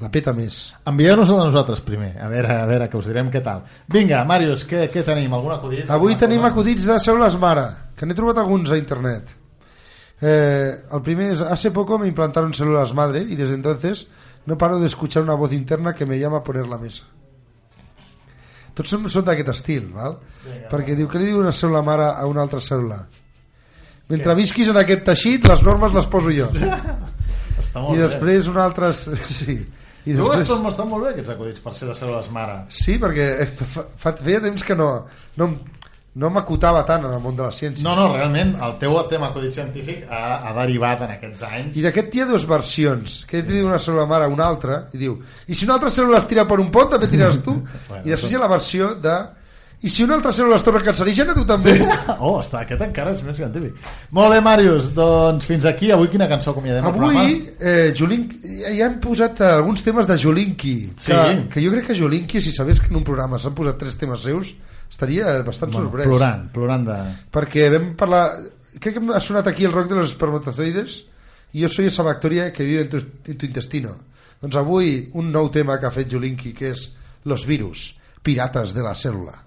Speaker 2: la peta més.
Speaker 1: Envieu-nos-el a nosaltres primer, a veure, a veure, que us direm què tal. Vinga, Màrius, què, què tenim? Algun acudit?
Speaker 2: Avui
Speaker 1: Alguna
Speaker 2: tenim
Speaker 1: cosa?
Speaker 2: acudits de cèl·lules mare, que n'he trobat alguns a internet. Eh, el primer es hace poco me implantaron células madre y desde entonces no paro de escuchar una voz interna que me llama a poner la mesa. Tots són, són d'aquest estil, val? Perquè diu, que li diu una cèl·lula mare a una altra cèl·lula? Mentre visquis en aquest teixit, les normes les poso jo.
Speaker 1: Està molt
Speaker 2: I
Speaker 1: bé.
Speaker 2: després una altra... Sí. I
Speaker 1: Tu
Speaker 2: després...
Speaker 1: estan, estan molt bé aquests acudits per ser de cèl·lules mare.
Speaker 2: Sí, perquè fa, fa, feia temps que no, no, em- no m'acotava tant en el món de la ciència.
Speaker 1: No, no, realment, el teu tema acudit científic ha, ha derivat en aquests anys.
Speaker 2: I d'aquest hi ha dues versions, que ell diu una cèl·lula mare a una altra, i diu, i si una altra cèl·lula es tira per un pont, també tiraràs tu? I després hi ha la versió de I si una altra cèl·lula es torna cancerígena, tu també.
Speaker 1: Oh, està, aquest encara és més científic. Molt bé, Màrius, doncs fins aquí. Avui quina cançó acomiadem el programa?
Speaker 2: Avui, eh, Julink, ja ja hem posat eh, alguns temes de Jolinki.
Speaker 1: Sí.
Speaker 2: Que, que jo crec que Jolinki, si sabés que en un programa s'han posat tres temes seus, estaria bastant bueno, sorprès.
Speaker 1: Plorant, plorant de...
Speaker 2: Perquè vam parlar... Crec que ha sonat aquí el rock de los espermatozoides i jo soy esa bacteria que vive en tu, en tu intestino. Doncs avui un nou tema que ha fet Jolinki, que és los virus, pirates de la cèl·lula.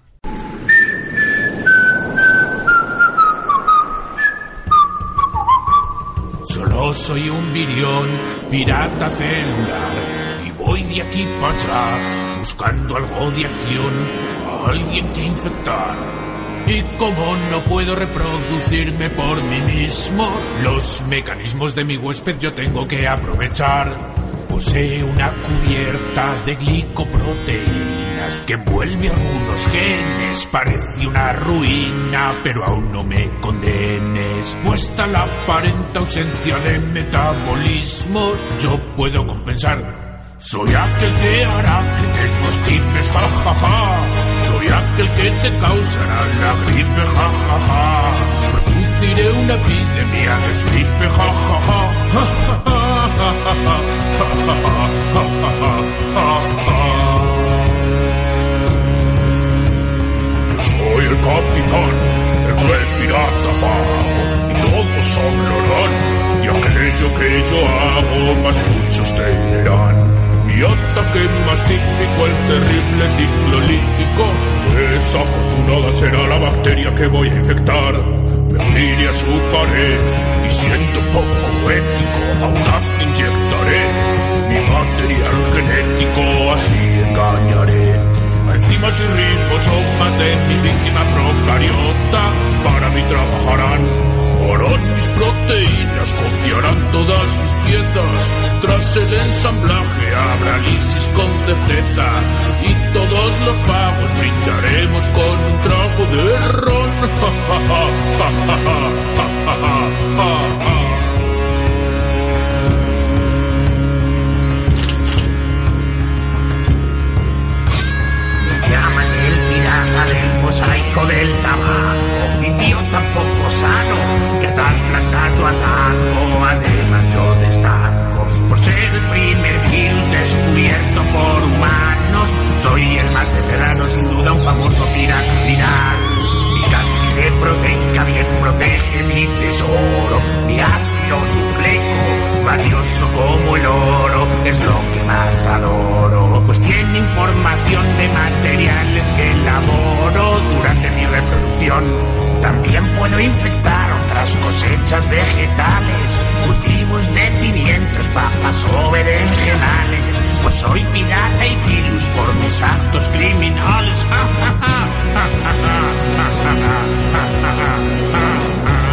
Speaker 8: Solo soy un virión, pirata celular, y voy de aquí para allá, buscando algo de acción, a alguien que infectar. Y como no puedo reproducirme por mí mismo, los mecanismos de mi huésped yo tengo que aprovechar. Posee una cubierta de glicoproteínas que envuelve algunos genes. Parece una ruina, pero aún no me condenes. Puesta la aparente ausencia de metabolismo, yo puedo compensar. Soy aquel que hará que te constipes, ja, ja, ja. Soy aquel que te causará la gripe, ja, ja, ja. Produciré una epidemia de gripe, ja, ja, ja. Ja, ja, ja, ja, ja, ja. Ja, ja, ja, ja, ja, ja. Soy el capitán, el buen pirata fago, y todos hablarán, y aquello que yo hago más muchos temerán. Mi ataque más típico, el terrible ciclo lítico. Desafortunada será la bacteria que voy a infectar. Me uniré a su pared y siento poco ético, audaz inyectaré mi material genético, así engañaré. A Enzimas y ribosomas de mi víctima procariota para mí trabajarán. Harán mis proteínas, copiarán todas mis piezas. Tras el ensamblaje habrá lisis con certeza. Y todos los fagos brindaremos con un trago de ron. Ja, ja, ja, ja, ja, ja, ja, ja, ja, ja.
Speaker 3: llaman el pirata del mosaico del tabaco, idiota poco sano, que tan plantado ataco, además yo destaco, por ser el primer virus descubierto por humanos, soy el más veterano, sin duda un famoso pirata viral. Mi cápside proteica bien protege mi tesoro, mi ácido nucleico, valioso como el oro, es lo que más adoro. Pues tiene información de materiales que elaboro durante mi reproducción. También puedo infectar otras cosechas vegetales, cultivos de pimientos, papas o berenjenales. Pues soy pirata y virus por mis actos criminales. Ja, ja, ja. Ja, ja, ja. Ja, ja, ja. Ja, ja, ja.